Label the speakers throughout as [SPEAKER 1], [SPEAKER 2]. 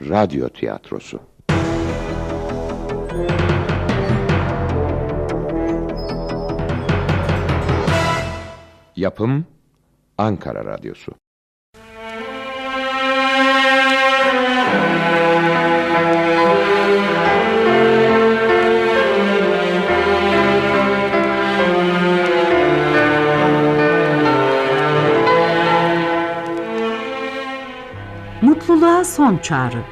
[SPEAKER 1] Radyo tiyatrosu. Yapım Ankara Radyosu.
[SPEAKER 2] Mutluluğa son çağrı.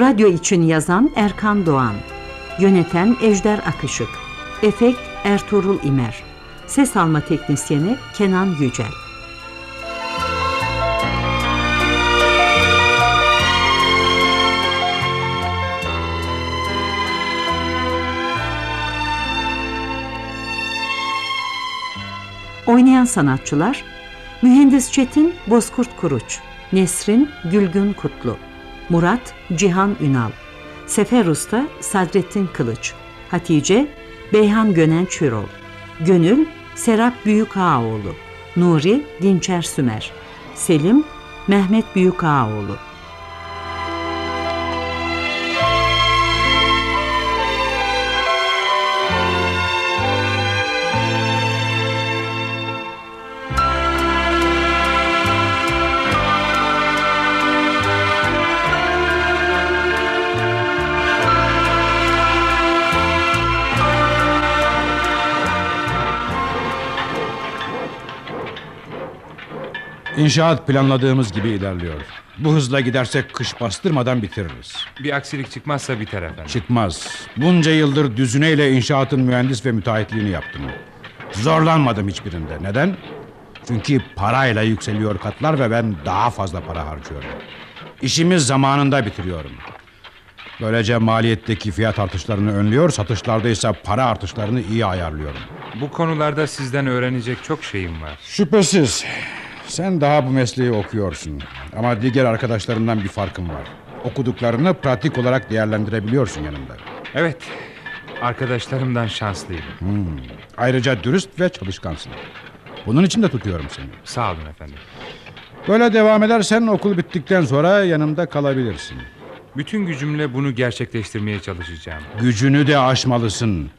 [SPEAKER 2] Radyo için yazan Erkan Doğan, yöneten Ejder Akışık, efekt Ertuğrul İmer, ses alma teknisyeni Kenan Yücel. Oynayan sanatçılar Mühendis Çetin Bozkurt Kuruç Nesrin Gülgün Kutlu Murat Cihan Ünal Sefer Usta Sadrettin Kılıç Hatice Beyhan Gönen Çürol Gönül Serap Büyükağaoğlu Nuri Dinçer Sümer Selim Mehmet Büyükağaoğlu
[SPEAKER 3] İnşaat planladığımız gibi ilerliyor. Bu hızla gidersek kış bastırmadan bitiririz.
[SPEAKER 4] Bir aksilik çıkmazsa biter efendim.
[SPEAKER 3] Çıkmaz. Bunca yıldır düzüneyle inşaatın mühendis ve müteahhitliğini yaptım. Zorlanmadım hiçbirinde. Neden? Çünkü parayla yükseliyor katlar ve ben daha fazla para harcıyorum. İşimi zamanında bitiriyorum. Böylece maliyetteki fiyat artışlarını önlüyor, satışlarda ise para artışlarını iyi ayarlıyorum.
[SPEAKER 4] Bu konularda sizden öğrenecek çok şeyim var.
[SPEAKER 3] Şüphesiz. Sen daha bu mesleği okuyorsun. Ama diğer arkadaşlarından bir farkın var. Okuduklarını pratik olarak değerlendirebiliyorsun yanında.
[SPEAKER 4] Evet, arkadaşlarımdan şanslıyım.
[SPEAKER 3] Hmm. Ayrıca dürüst ve çalışkansın. Bunun için de tutuyorum seni.
[SPEAKER 4] Sağ olun efendim.
[SPEAKER 3] Böyle devam edersen okul bittikten sonra yanımda kalabilirsin.
[SPEAKER 4] Bütün gücümle bunu gerçekleştirmeye çalışacağım.
[SPEAKER 3] Gücünü de aşmalısın.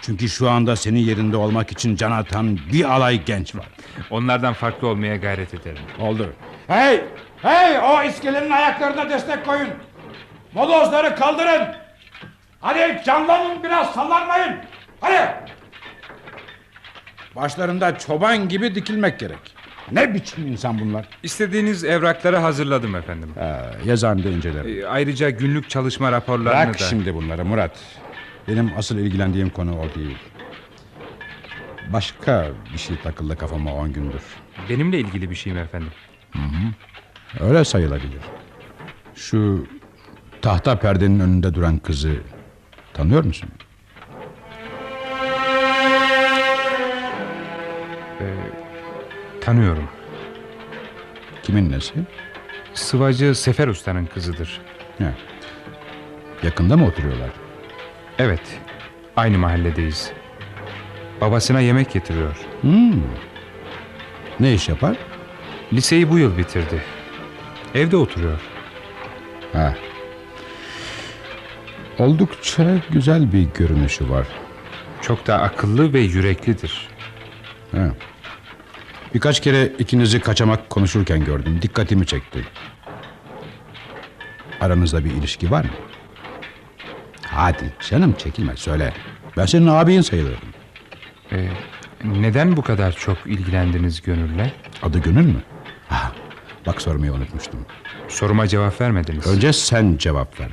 [SPEAKER 3] Çünkü şu anda senin yerinde olmak için can atan bir alay genç var.
[SPEAKER 4] Onlardan farklı olmaya gayret ederim.
[SPEAKER 3] Oldu. Hey! Hey! O iskelenin ayaklarına destek koyun. Molozları kaldırın. Hadi canlanın biraz sallanmayın. Hadi! Başlarında çoban gibi dikilmek gerek. Ne biçim insan bunlar? Ee,
[SPEAKER 4] İstediğiniz evrakları hazırladım efendim.
[SPEAKER 3] yazan da incelerim.
[SPEAKER 4] Ee, Ayrıca günlük çalışma raporlarını
[SPEAKER 3] Bırak
[SPEAKER 4] da...
[SPEAKER 3] şimdi bunları Murat. Benim asıl ilgilendiğim konu o değil. Başka bir şey takıldı kafama on gündür.
[SPEAKER 4] Benimle ilgili bir şeyim efendim.
[SPEAKER 3] Öyle sayılabilir. Şu tahta perdenin önünde duran kızı tanıyor musun?
[SPEAKER 4] E, Tanıyorum.
[SPEAKER 3] Kimin nesi?
[SPEAKER 4] Sıvacı Sefer Usta'nın kızıdır.
[SPEAKER 3] He. Yakında mı oturuyorlar?
[SPEAKER 4] Evet, aynı mahalledeyiz. Babasına yemek getiriyor.
[SPEAKER 3] Hmm. Ne iş yapar?
[SPEAKER 4] Liseyi bu yıl bitirdi. Evde oturuyor.
[SPEAKER 3] Ha. Oldukça güzel bir görünüşü var.
[SPEAKER 4] Çok da akıllı ve yüreklidir.
[SPEAKER 3] He. Birkaç kere ikinizi kaçamak konuşurken gördüm. Dikkatimi çekti. Aranızda bir ilişki var mı? Hadi canım çekilme söyle. Ben senin abin sayılırım.
[SPEAKER 4] Ee, neden bu kadar çok ilgilendiniz gönülle?
[SPEAKER 3] Adı Gönül mü? Ha, bak sormayı unutmuştum.
[SPEAKER 4] Soruma cevap vermediniz.
[SPEAKER 3] Önce sen cevap ver.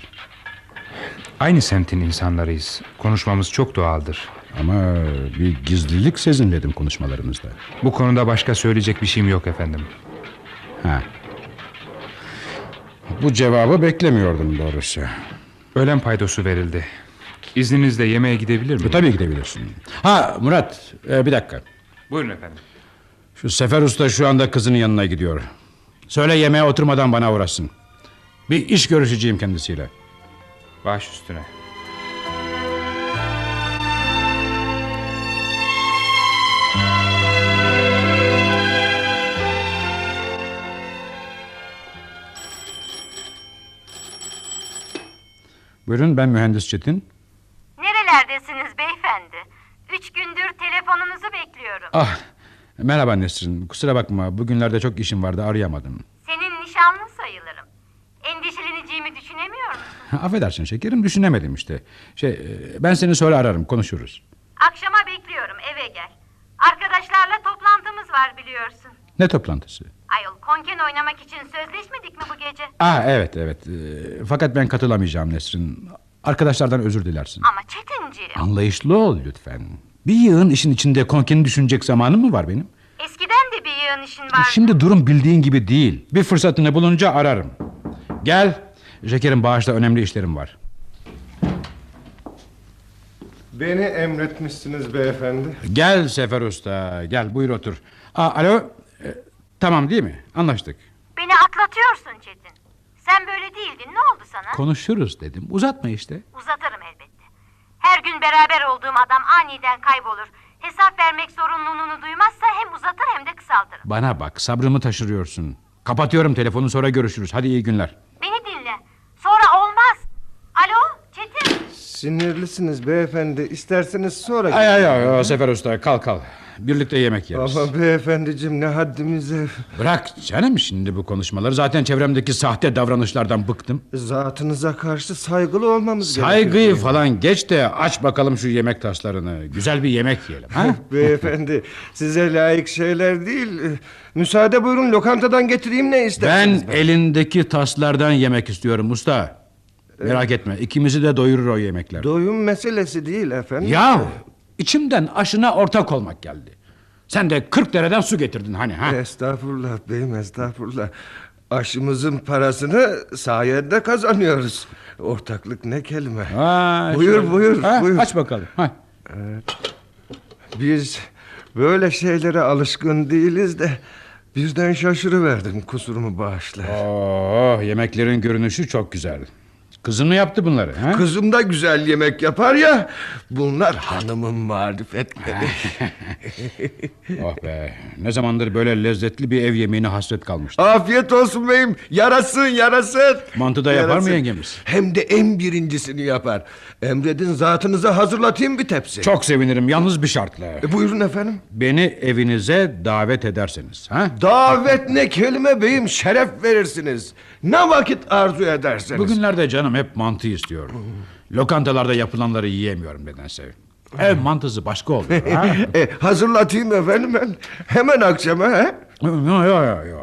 [SPEAKER 4] Aynı semtin insanlarıyız. Konuşmamız çok doğaldır.
[SPEAKER 3] Ama bir gizlilik sezinledim konuşmalarınızda.
[SPEAKER 4] Bu konuda başka söyleyecek bir şeyim yok efendim.
[SPEAKER 3] Ha. Bu cevabı beklemiyordum doğrusu.
[SPEAKER 4] Öğlen paydosu verildi. İzninizle yemeğe gidebilir miyim?
[SPEAKER 3] E, tabii gidebilirsin. Ha Murat e, bir dakika.
[SPEAKER 4] Buyurun efendim.
[SPEAKER 3] Şu Sefer Usta şu anda kızının yanına gidiyor. Söyle yemeğe oturmadan bana uğrasın. Bir iş görüşeceğim kendisiyle.
[SPEAKER 4] Baş üstüne.
[SPEAKER 3] Buyurun ben mühendis Çetin.
[SPEAKER 5] Nerelerdesiniz beyefendi? Üç gündür telefonunuzu bekliyorum.
[SPEAKER 3] Ah merhaba Nesrin kusura bakma bugünlerde çok işim vardı arayamadım.
[SPEAKER 5] Senin nişanlın sayılırım. Endişeleneceğimi düşünemiyor musun?
[SPEAKER 3] Affedersin şekerim düşünemedim işte. Şey e, ben seni sonra ararım konuşuruz.
[SPEAKER 5] Akşama bekliyorum eve gel. Arkadaşlarla toplantımız var biliyorsun.
[SPEAKER 3] Ne toplantısı?
[SPEAKER 5] Ayol konken oynamak için sözleşmedik mi bu gece?
[SPEAKER 3] Ah evet evet E, fakat ben katılamayacağım Nesrin. Arkadaşlardan özür dilersin.
[SPEAKER 5] Ama Çetinciğim
[SPEAKER 3] Anlayışlı ol lütfen. Bir yığın işin içinde konkeni düşünecek zamanım mı var benim?
[SPEAKER 5] eskiden de bir yığın işin vardı.
[SPEAKER 3] Şimdi durum bildiğin gibi değil. Bir fırsatını bulunca ararım. Gel. Şekerim bağışla önemli işlerim var.
[SPEAKER 6] Beni emretmişsiniz beyefendi.
[SPEAKER 3] Gel Sefer Usta gel buyur otur. Aa, alo E, tamam değil mi anlaştık.
[SPEAKER 5] Beni atlatıyorsun Çetin. Sen böyle değildin ne oldu sana?
[SPEAKER 3] Konuşuruz dedim uzatma işte.
[SPEAKER 5] Uzatırım elbette. Her gün beraber olduğum adam aniden kaybolur. Hesap vermek zorunluluğunu duymazsa hem uzatır hem de kısaltırım.
[SPEAKER 3] Bana bak sabrımı taşırıyorsun. Kapatıyorum telefonu sonra görüşürüz hadi iyi günler.
[SPEAKER 5] Beni dinle. Sonra olmaz. Alo Çetin.
[SPEAKER 6] Sinirlisiniz beyefendi. İsterseniz sonra...
[SPEAKER 3] Ay ay ay o Sefer Usta kalk kalk. Birlikte yemek yeriz.
[SPEAKER 6] Ama beyefendicim ne haddimize...
[SPEAKER 3] Bırak canım şimdi bu konuşmaları. Zaten çevremdeki sahte davranışlardan bıktım.
[SPEAKER 6] Zatınıza karşı saygılı olmamız
[SPEAKER 3] Saygıyı
[SPEAKER 6] gerekiyor.
[SPEAKER 3] falan geç de aç bakalım şu yemek taslarını. Güzel bir yemek yiyelim. Ha?
[SPEAKER 6] Beyefendi size layık şeyler değil. Ee, Müsaade buyurun lokantadan getireyim ne istersiniz?
[SPEAKER 3] ben elindeki taslardan yemek istiyorum usta. Merak etme ikimizi de doyurur o yemekler.
[SPEAKER 6] Doyum meselesi değil efendim.
[SPEAKER 3] Yahu içimden aşına ortak olmak geldi. Sen de 40 dereden su getirdin hani ha?
[SPEAKER 6] Estağfurullah beyim estağfurullah. Aşımızın parasını sayende kazanıyoruz. Ortaklık ne kelime.
[SPEAKER 3] Ha,
[SPEAKER 6] buyur
[SPEAKER 3] şöyle.
[SPEAKER 6] buyur
[SPEAKER 3] Ha,
[SPEAKER 6] buyur. Ee,
[SPEAKER 3] Aç bakalım. Ha.
[SPEAKER 6] Biz böyle şeylere alışkın değiliz de birden şaşırıverdim kusurumu bağışla.
[SPEAKER 3] Oh, yemeklerin görünüşü çok güzel. Kızın mı yaptı bunları? Ha?
[SPEAKER 6] Kızım da güzel yemek yapar ya. Bunlar hanımın marifetleri.
[SPEAKER 3] Oh be. Ne zamandır böyle lezzetli bir ev yemeğine hasret kalmıştım.
[SPEAKER 6] Afiyet olsun beyim. Yarasın yarasın.
[SPEAKER 3] Mantı da yapar mı
[SPEAKER 6] Yarasın.
[SPEAKER 3] yengemiz?
[SPEAKER 6] Hem de en birincisini yapar. Emredin zatınıza hazırlatayım bir tepsi.
[SPEAKER 3] Çok sevinirim yalnız bir şartla.
[SPEAKER 6] E, buyurun efendim.
[SPEAKER 3] Beni evinize davet ederseniz. Ha?
[SPEAKER 6] Davet ne kelime beyim şeref verirsiniz. Ne vakit arzu ederseniz.
[SPEAKER 3] Bugünlerde canım hep mantı istiyorum. Lokantalarda yapılanları yiyemiyorum nedense. Ev mantısı başka oluyor. ha?
[SPEAKER 6] E, hazırlatayım efendim ben. Hemen akşama he?
[SPEAKER 3] Yo, yo, yo, yo.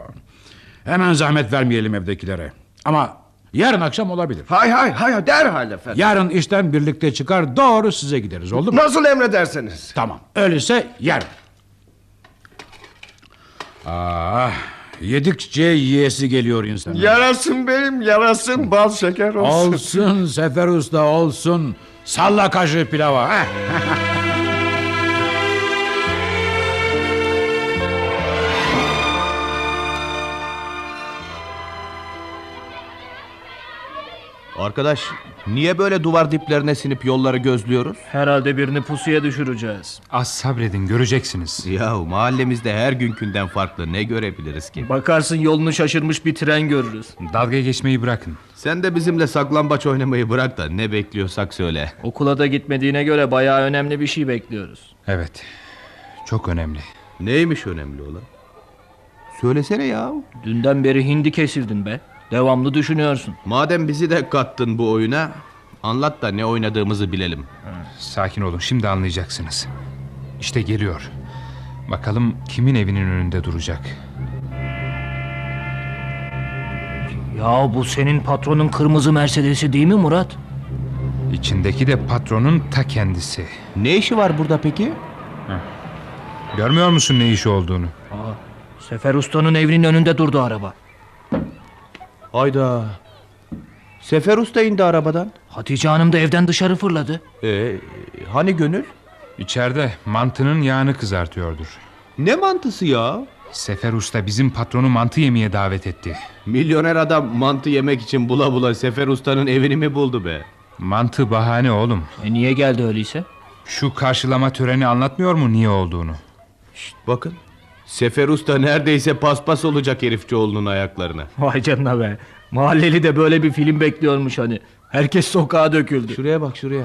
[SPEAKER 3] Hemen zahmet vermeyelim evdekilere. Ama yarın akşam olabilir.
[SPEAKER 6] Hay hay hay derhal efendim.
[SPEAKER 3] Yarın işten birlikte çıkar doğru size gideriz oldu mu?
[SPEAKER 6] Nasıl emrederseniz.
[SPEAKER 3] Tamam öyleyse yarın. Ah, yedikçe yiyesi geliyor insanın.
[SPEAKER 6] Yarasın benim yarasın bal şeker olsun.
[SPEAKER 3] Olsun Sefer Usta olsun. Salla kaşığı pilava. heh.
[SPEAKER 7] Arkadaş niye böyle duvar diplerine sinip yolları gözlüyoruz?
[SPEAKER 8] Herhalde birini pusuya düşüreceğiz.
[SPEAKER 4] Az sabredin göreceksiniz.
[SPEAKER 7] Yahu mahallemizde her günkünden farklı ne görebiliriz ki?
[SPEAKER 8] Bakarsın yolunu şaşırmış bir tren görürüz.
[SPEAKER 4] Dalga geçmeyi bırakın.
[SPEAKER 7] Sen de bizimle saklambaç oynamayı bırak da ne bekliyorsak söyle.
[SPEAKER 8] Okula da gitmediğine göre bayağı önemli bir şey bekliyoruz.
[SPEAKER 4] Evet. Çok önemli.
[SPEAKER 7] Neymiş önemli olan? Söylesene ya.
[SPEAKER 8] Dünden beri hindi kesildin be. Devamlı düşünüyorsun.
[SPEAKER 7] Madem bizi de kattın bu oyuna anlat da ne oynadığımızı bilelim.
[SPEAKER 4] Sakin olun şimdi anlayacaksınız. İşte geliyor. Bakalım kimin evinin önünde duracak.
[SPEAKER 8] Ya bu senin patronun kırmızı Mercedes'i değil mi Murat?
[SPEAKER 4] İçindeki de patronun ta kendisi.
[SPEAKER 7] Ne işi var burada peki?
[SPEAKER 4] Görmüyor musun ne işi olduğunu?
[SPEAKER 8] Sefer Usta'nın evinin önünde durdu araba.
[SPEAKER 7] Hayda. Sefer Usta indi arabadan.
[SPEAKER 8] Hatice Hanım da evden dışarı fırladı.
[SPEAKER 7] Ee, hani gönül?
[SPEAKER 4] İçeride mantının yağını kızartıyordur.
[SPEAKER 7] Ne mantısı ya?
[SPEAKER 4] Sefer Usta bizim patronu mantı yemeye davet etti.
[SPEAKER 7] Milyoner adam mantı yemek için bula bula Sefer Usta'nın evini mi buldu be?
[SPEAKER 4] Mantı bahane oğlum.
[SPEAKER 8] E niye geldi öyleyse?
[SPEAKER 4] Şu karşılama töreni anlatmıyor mu niye olduğunu?
[SPEAKER 7] Bakın. Sefer Usta neredeyse paspas olacak herifçioğlunun ayaklarına.
[SPEAKER 8] Vay canına be. Mahalleli de böyle bir film bekliyormuş hani. Herkes sokağa döküldü.
[SPEAKER 7] Şuraya bak şuraya.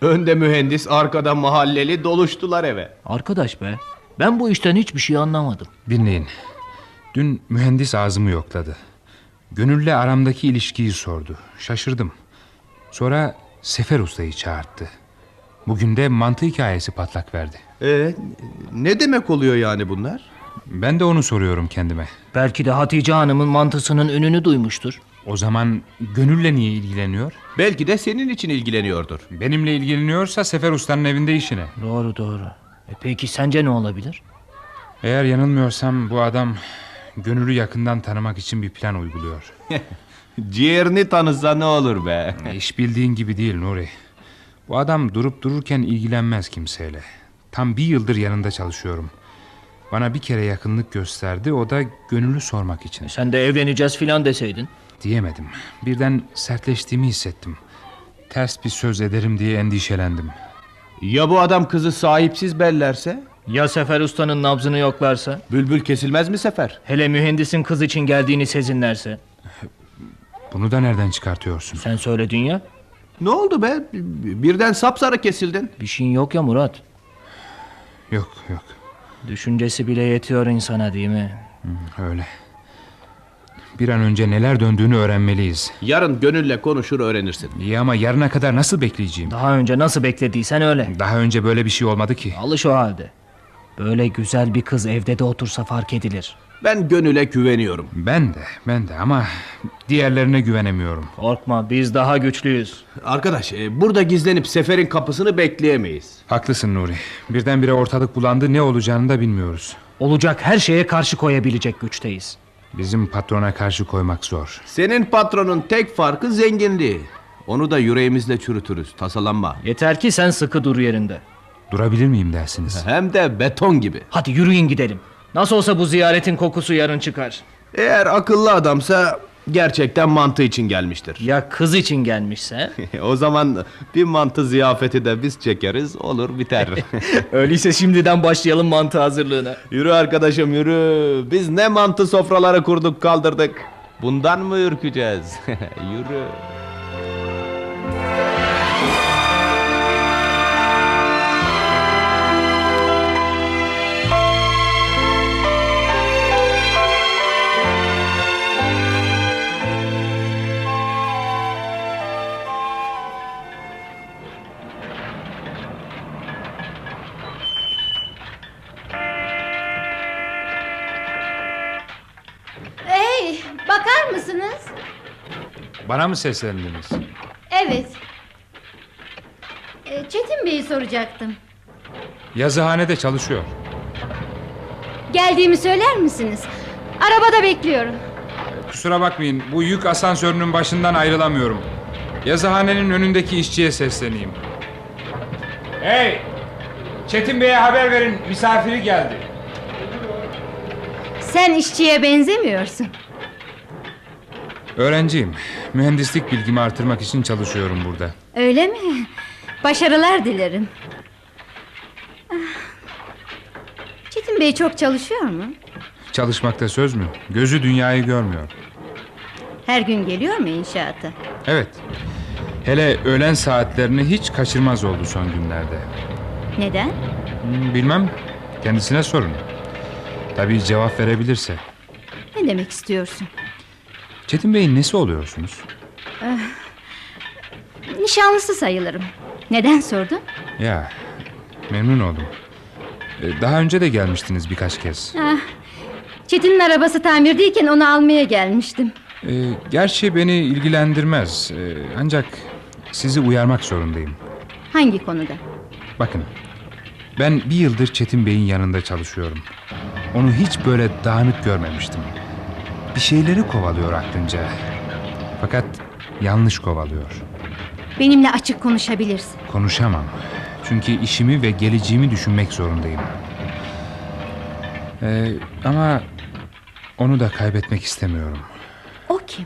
[SPEAKER 7] Önde mühendis, arkada mahalleli doluştular eve.
[SPEAKER 8] Arkadaş be. Ben bu işten hiçbir şey anlamadım.
[SPEAKER 4] Dinleyin. Dün mühendis ağzımı yokladı. Gönülle aramdaki ilişkiyi sordu. Şaşırdım. Sonra Sefer Usta'yı çağırttı. Bugün de mantı hikayesi patlak verdi.
[SPEAKER 7] Ee, ne demek oluyor yani bunlar?
[SPEAKER 4] Ben de onu soruyorum kendime.
[SPEAKER 8] Belki de Hatice Hanım'ın mantısının ününü duymuştur.
[SPEAKER 4] O zaman gönülle niye ilgileniyor?
[SPEAKER 7] Belki de senin için ilgileniyordur.
[SPEAKER 4] Benimle ilgileniyorsa Sefer Usta'nın evinde işine.
[SPEAKER 8] Doğru doğru. E peki sence ne olabilir?
[SPEAKER 4] Eğer yanılmıyorsam bu adam gönülü yakından tanımak için bir plan uyguluyor.
[SPEAKER 7] Ciğerini tanısa ne olur be.
[SPEAKER 4] E, İş bildiğin gibi değil Nuri. Bu adam durup dururken ilgilenmez kimseyle. Tam bir yıldır yanında çalışıyorum. Bana bir kere yakınlık gösterdi o da gönüllü sormak için.
[SPEAKER 8] E, Sen de evleneceğiz filan deseydin.
[SPEAKER 4] Diyemedim. Birden sertleştiğimi hissettim. Ters bir söz ederim diye endişelendim.
[SPEAKER 7] Ya bu adam kızı sahipsiz bellerse?
[SPEAKER 8] Ya Sefer Usta'nın nabzını yoklarsa?
[SPEAKER 7] Bülbül kesilmez mi sefer?
[SPEAKER 8] Hele mühendisin kız için geldiğini sezinlerse?
[SPEAKER 4] Bunu da nereden çıkartıyorsun?
[SPEAKER 8] Sen söyledin ya.
[SPEAKER 7] Ne oldu be? Birden sapsarı kesildin.
[SPEAKER 8] Bir şeyin yok ya Murat.
[SPEAKER 4] Yok yok
[SPEAKER 8] Düşüncesi bile yetiyor insana değil mi?
[SPEAKER 4] öyle. Bir an önce neler döndüğünü öğrenmeliyiz.
[SPEAKER 7] Yarın gönülle konuşur öğrenirsin.
[SPEAKER 4] İyi ama yarına kadar nasıl bekleyeceğim?
[SPEAKER 8] Daha önce nasıl beklediysen öyle.
[SPEAKER 4] Daha önce böyle bir şey olmadı ki.
[SPEAKER 8] Alış o halde. Böyle güzel bir kız evde de otursa fark edilir.
[SPEAKER 7] Ben gönüle güveniyorum.
[SPEAKER 4] Ben de, ben de ama diğerlerine güvenemiyorum.
[SPEAKER 8] Korkma biz daha güçlüyüz.
[SPEAKER 7] Arkadaş e, burada gizlenip seferin kapısını bekleyemeyiz.
[SPEAKER 4] Haklısın Nuri. Birdenbire ortalık bulandı, ne olacağını da bilmiyoruz.
[SPEAKER 8] Olacak her şeye karşı koyabilecek güçteyiz.
[SPEAKER 4] Bizim patrona karşı koymak zor.
[SPEAKER 7] Senin patronun tek farkı zenginliği. Onu da yüreğimizle çürütürüz. Tasalanma.
[SPEAKER 8] Yeter ki sen sıkı dur yerinde.
[SPEAKER 4] Durabilir miyim dersiniz?
[SPEAKER 7] Hem de beton gibi.
[SPEAKER 8] Hadi yürüyün gidelim. Nasıl olsa bu ziyaretin kokusu yarın çıkar.
[SPEAKER 7] Eğer akıllı adamsa gerçekten mantı için gelmiştir.
[SPEAKER 8] Ya kız için gelmişse?
[SPEAKER 7] o zaman bir mantı ziyafeti de biz çekeriz. Olur biter.
[SPEAKER 8] Öyleyse şimdiden başlayalım mantı hazırlığına.
[SPEAKER 7] yürü arkadaşım yürü. Biz ne mantı sofraları kurduk kaldırdık. Bundan mı ürkeceğiz? yürü.
[SPEAKER 9] Hey, bakar mısınız?
[SPEAKER 4] Bana mı seslendiniz?
[SPEAKER 9] Evet. E, Çetin Bey'i soracaktım.
[SPEAKER 4] Yazıhanede çalışıyor.
[SPEAKER 9] Geldiğimi söyler misiniz? Arabada bekliyorum.
[SPEAKER 4] Kusura bakmayın, bu yük asansörünün başından ayrılamıyorum. Yazıhanenin önündeki işçiye sesleneyim. Hey! Çetin Bey'e haber verin, misafiri geldi.
[SPEAKER 9] Sen işçiye benzemiyorsun.
[SPEAKER 4] Öğrenciyim. Mühendislik bilgimi artırmak için çalışıyorum burada.
[SPEAKER 9] Öyle mi? Başarılar dilerim. Ah. Çetin Bey çok çalışıyor mu?
[SPEAKER 4] Çalışmakta söz mü? Gözü dünyayı görmüyor.
[SPEAKER 9] Her gün geliyor mu inşaata?
[SPEAKER 4] Evet. Hele öğlen saatlerini hiç kaçırmaz oldu son günlerde.
[SPEAKER 9] Neden?
[SPEAKER 4] Hmm, Bilmem. Kendisine sorun. Tabii cevap verebilirse.
[SPEAKER 9] Ne demek istiyorsun?
[SPEAKER 4] Çetin Bey'in nesi oluyorsunuz?
[SPEAKER 9] Ah. Nişanlısı sayılırım. Neden sordun?
[SPEAKER 4] Ya, memnun oldum. Ee, Daha önce de gelmiştiniz birkaç kez.
[SPEAKER 9] Ah, Çetin'in arabası tamirdeyken onu almaya gelmiştim.
[SPEAKER 4] Ee, gerçi beni ilgilendirmez. Ee, ancak sizi uyarmak zorundayım.
[SPEAKER 9] Hangi konuda?
[SPEAKER 4] Bakın, ben bir yıldır Çetin Bey'in yanında çalışıyorum. Onu hiç böyle dağınık görmemiştim. Bir şeyleri kovalıyor aklınca. Fakat yanlış kovalıyor.
[SPEAKER 9] Benimle açık konuşabilirsin.
[SPEAKER 4] Konuşamam. Çünkü işimi ve geleceğimi düşünmek zorundayım. Ee, ama onu da kaybetmek istemiyorum.
[SPEAKER 9] O kim?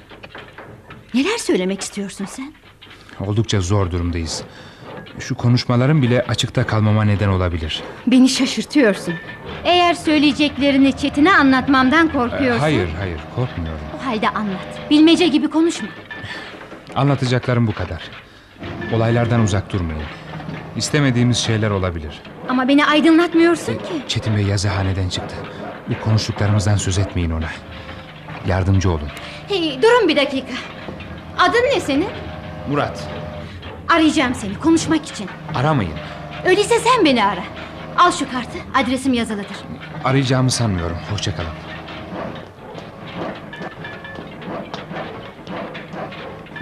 [SPEAKER 9] Neler söylemek istiyorsun sen?
[SPEAKER 4] Oldukça zor durumdayız. Şu konuşmaların bile açıkta kalmama neden olabilir.
[SPEAKER 10] Beni şaşırtıyorsun. Eğer söyleyeceklerini Çetin'e anlatmamdan
[SPEAKER 4] Ee,
[SPEAKER 10] korkuyorsun.
[SPEAKER 4] Hayır, hayır, korkmuyorum.
[SPEAKER 10] O halde anlat. Bilmece gibi konuşma.
[SPEAKER 4] Anlatacaklarım bu kadar. Olaylardan uzak durmayın. İstemediğimiz şeyler olabilir.
[SPEAKER 10] Ama beni aydınlatmıyorsun ki.
[SPEAKER 4] Çetin Bey yazıhaneden çıktı. Bu konuştuklarımızdan söz etmeyin ona. Yardımcı olun.
[SPEAKER 10] Hey, durun bir dakika. Adın ne senin?
[SPEAKER 4] Murat,
[SPEAKER 10] Arayacağım seni konuşmak için.
[SPEAKER 4] aramayın.
[SPEAKER 10] Öyleyse sen beni ara. Al şu kartı. Adresim yazılıdır.
[SPEAKER 4] Arayacağımı sanmıyorum. Hoşçakalın.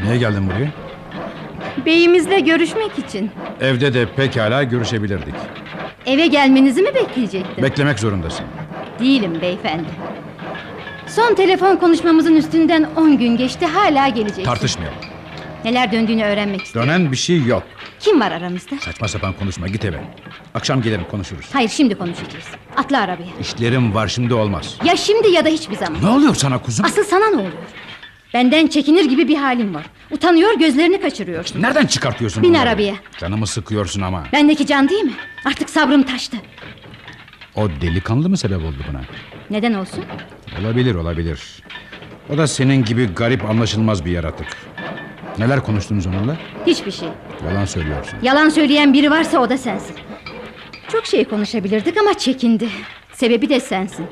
[SPEAKER 3] Niye geldin buraya?
[SPEAKER 10] Beyimizle görüşmek için.
[SPEAKER 3] Evde de pekala görüşebilirdik.
[SPEAKER 10] Eve gelmenizi mi bekleyecektim?
[SPEAKER 3] Beklemek zorundasın.
[SPEAKER 10] Değilim beyefendi. Son telefon konuşmamızın üstünden 10 gün geçti hala geleceksin.
[SPEAKER 3] Tartışmayalım.
[SPEAKER 10] Neler döndüğünü öğrenmek istiyorum.
[SPEAKER 3] Dönen bir şey yok.
[SPEAKER 10] Kim var aramızda?
[SPEAKER 3] Saçma sapan konuşma git eve. Akşam gelelim konuşuruz.
[SPEAKER 10] Hayır şimdi konuşacağız. Atla arabaya.
[SPEAKER 3] İşlerim var şimdi olmaz.
[SPEAKER 10] Ya şimdi ya da hiçbir zaman.
[SPEAKER 3] Ne oluyor sana kuzum?
[SPEAKER 10] Asıl sana ne oluyor? Benden çekinir gibi bir halim var. Utanıyor gözlerini kaçırıyorsun.
[SPEAKER 3] Nereden çıkartıyorsun
[SPEAKER 10] Bin
[SPEAKER 3] bunları?
[SPEAKER 10] arabaya.
[SPEAKER 3] Canımı sıkıyorsun ama.
[SPEAKER 10] Bendeki can değil mi? Artık sabrım taştı.
[SPEAKER 3] O delikanlı mı sebep oldu buna?
[SPEAKER 10] Neden olsun?
[SPEAKER 3] Olabilir olabilir. O da senin gibi garip anlaşılmaz bir yaratık. Neler konuştunuz onunla?
[SPEAKER 10] Hiçbir şey.
[SPEAKER 3] Yalan söylüyorsun.
[SPEAKER 10] Yalan söyleyen biri varsa o da sensin. Çok şey konuşabilirdik ama çekindi. Sebebi de sensin.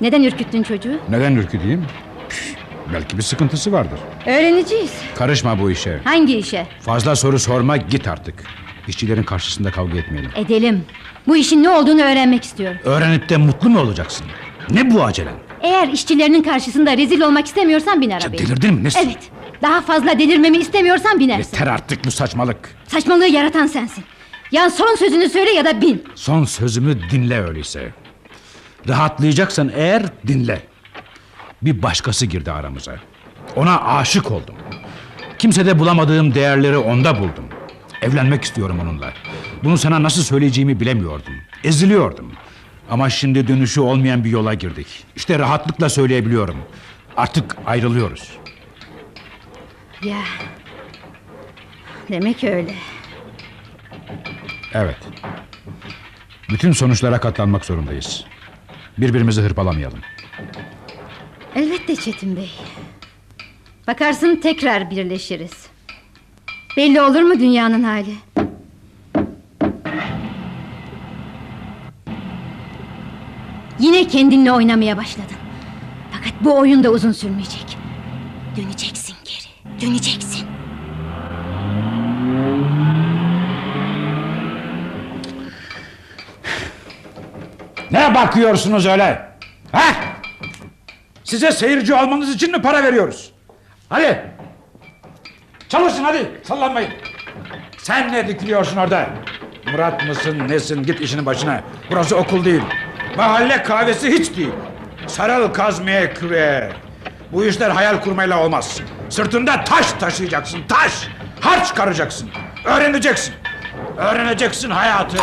[SPEAKER 10] Neden ürküttün çocuğu?
[SPEAKER 3] Neden ürküteyim? Püf, Belki bir sıkıntısı vardır.
[SPEAKER 10] Öğreneceğiz.
[SPEAKER 3] Karışma bu işe.
[SPEAKER 10] Hangi işe?
[SPEAKER 3] Fazla soru sorma git artık. İşçilerin karşısında kavga etmeyelim.
[SPEAKER 10] Edelim. Bu işin ne olduğunu öğrenmek istiyorum.
[SPEAKER 3] Öğrenip de mutlu mu olacaksın? Ne bu acelen?
[SPEAKER 10] Eğer işçilerinin karşısında rezil olmak istemiyorsan bin
[SPEAKER 3] Ya
[SPEAKER 10] arabaya.
[SPEAKER 3] delirdin mi? Nesin?
[SPEAKER 10] Evet. Daha fazla delirmemi istemiyorsan binersin.
[SPEAKER 3] Yeter artık bu saçmalık.
[SPEAKER 10] Saçmalığı yaratan sensin. Ya son sözünü söyle ya da bin.
[SPEAKER 3] Son sözümü dinle öyleyse. Rahatlayacaksan eğer dinle. Bir başkası girdi aramıza. Ona aşık oldum. Kimsede bulamadığım değerleri onda buldum. Evlenmek istiyorum onunla. Bunu sana nasıl söyleyeceğimi bilemiyordum. Eziliyordum. Ama şimdi dönüşü olmayan bir yola girdik. İşte rahatlıkla söyleyebiliyorum. Artık ayrılıyoruz.
[SPEAKER 10] Ya. Demek öyle.
[SPEAKER 3] Evet. Bütün sonuçlara katlanmak zorundayız. Birbirimizi hırpalamayalım.
[SPEAKER 10] Elbette Çetin Bey. Bakarsın tekrar birleşiriz. Belli olur mu dünyanın hali? Yine kendinle oynamaya başladın. Fakat bu oyun da uzun sürmeyecek. Döneceksin geri. Döneceksin.
[SPEAKER 3] Ne bakıyorsunuz öyle? Ha? Size seyirci olmanız için mi para veriyoruz? Hadi. Çalışın hadi. Sallanmayın. Sen ne dikiliyorsun orada? Murat mısın nesin git işinin başına. Burası okul değil. Mahalle kahvesi hiç değil. Sarıl kazmaya küreğe. Bu işler hayal kurmayla olmaz. Sırtında taş taşıyacaksın taş. Harç karacaksın. Öğreneceksin. Öğreneceksin hayatı.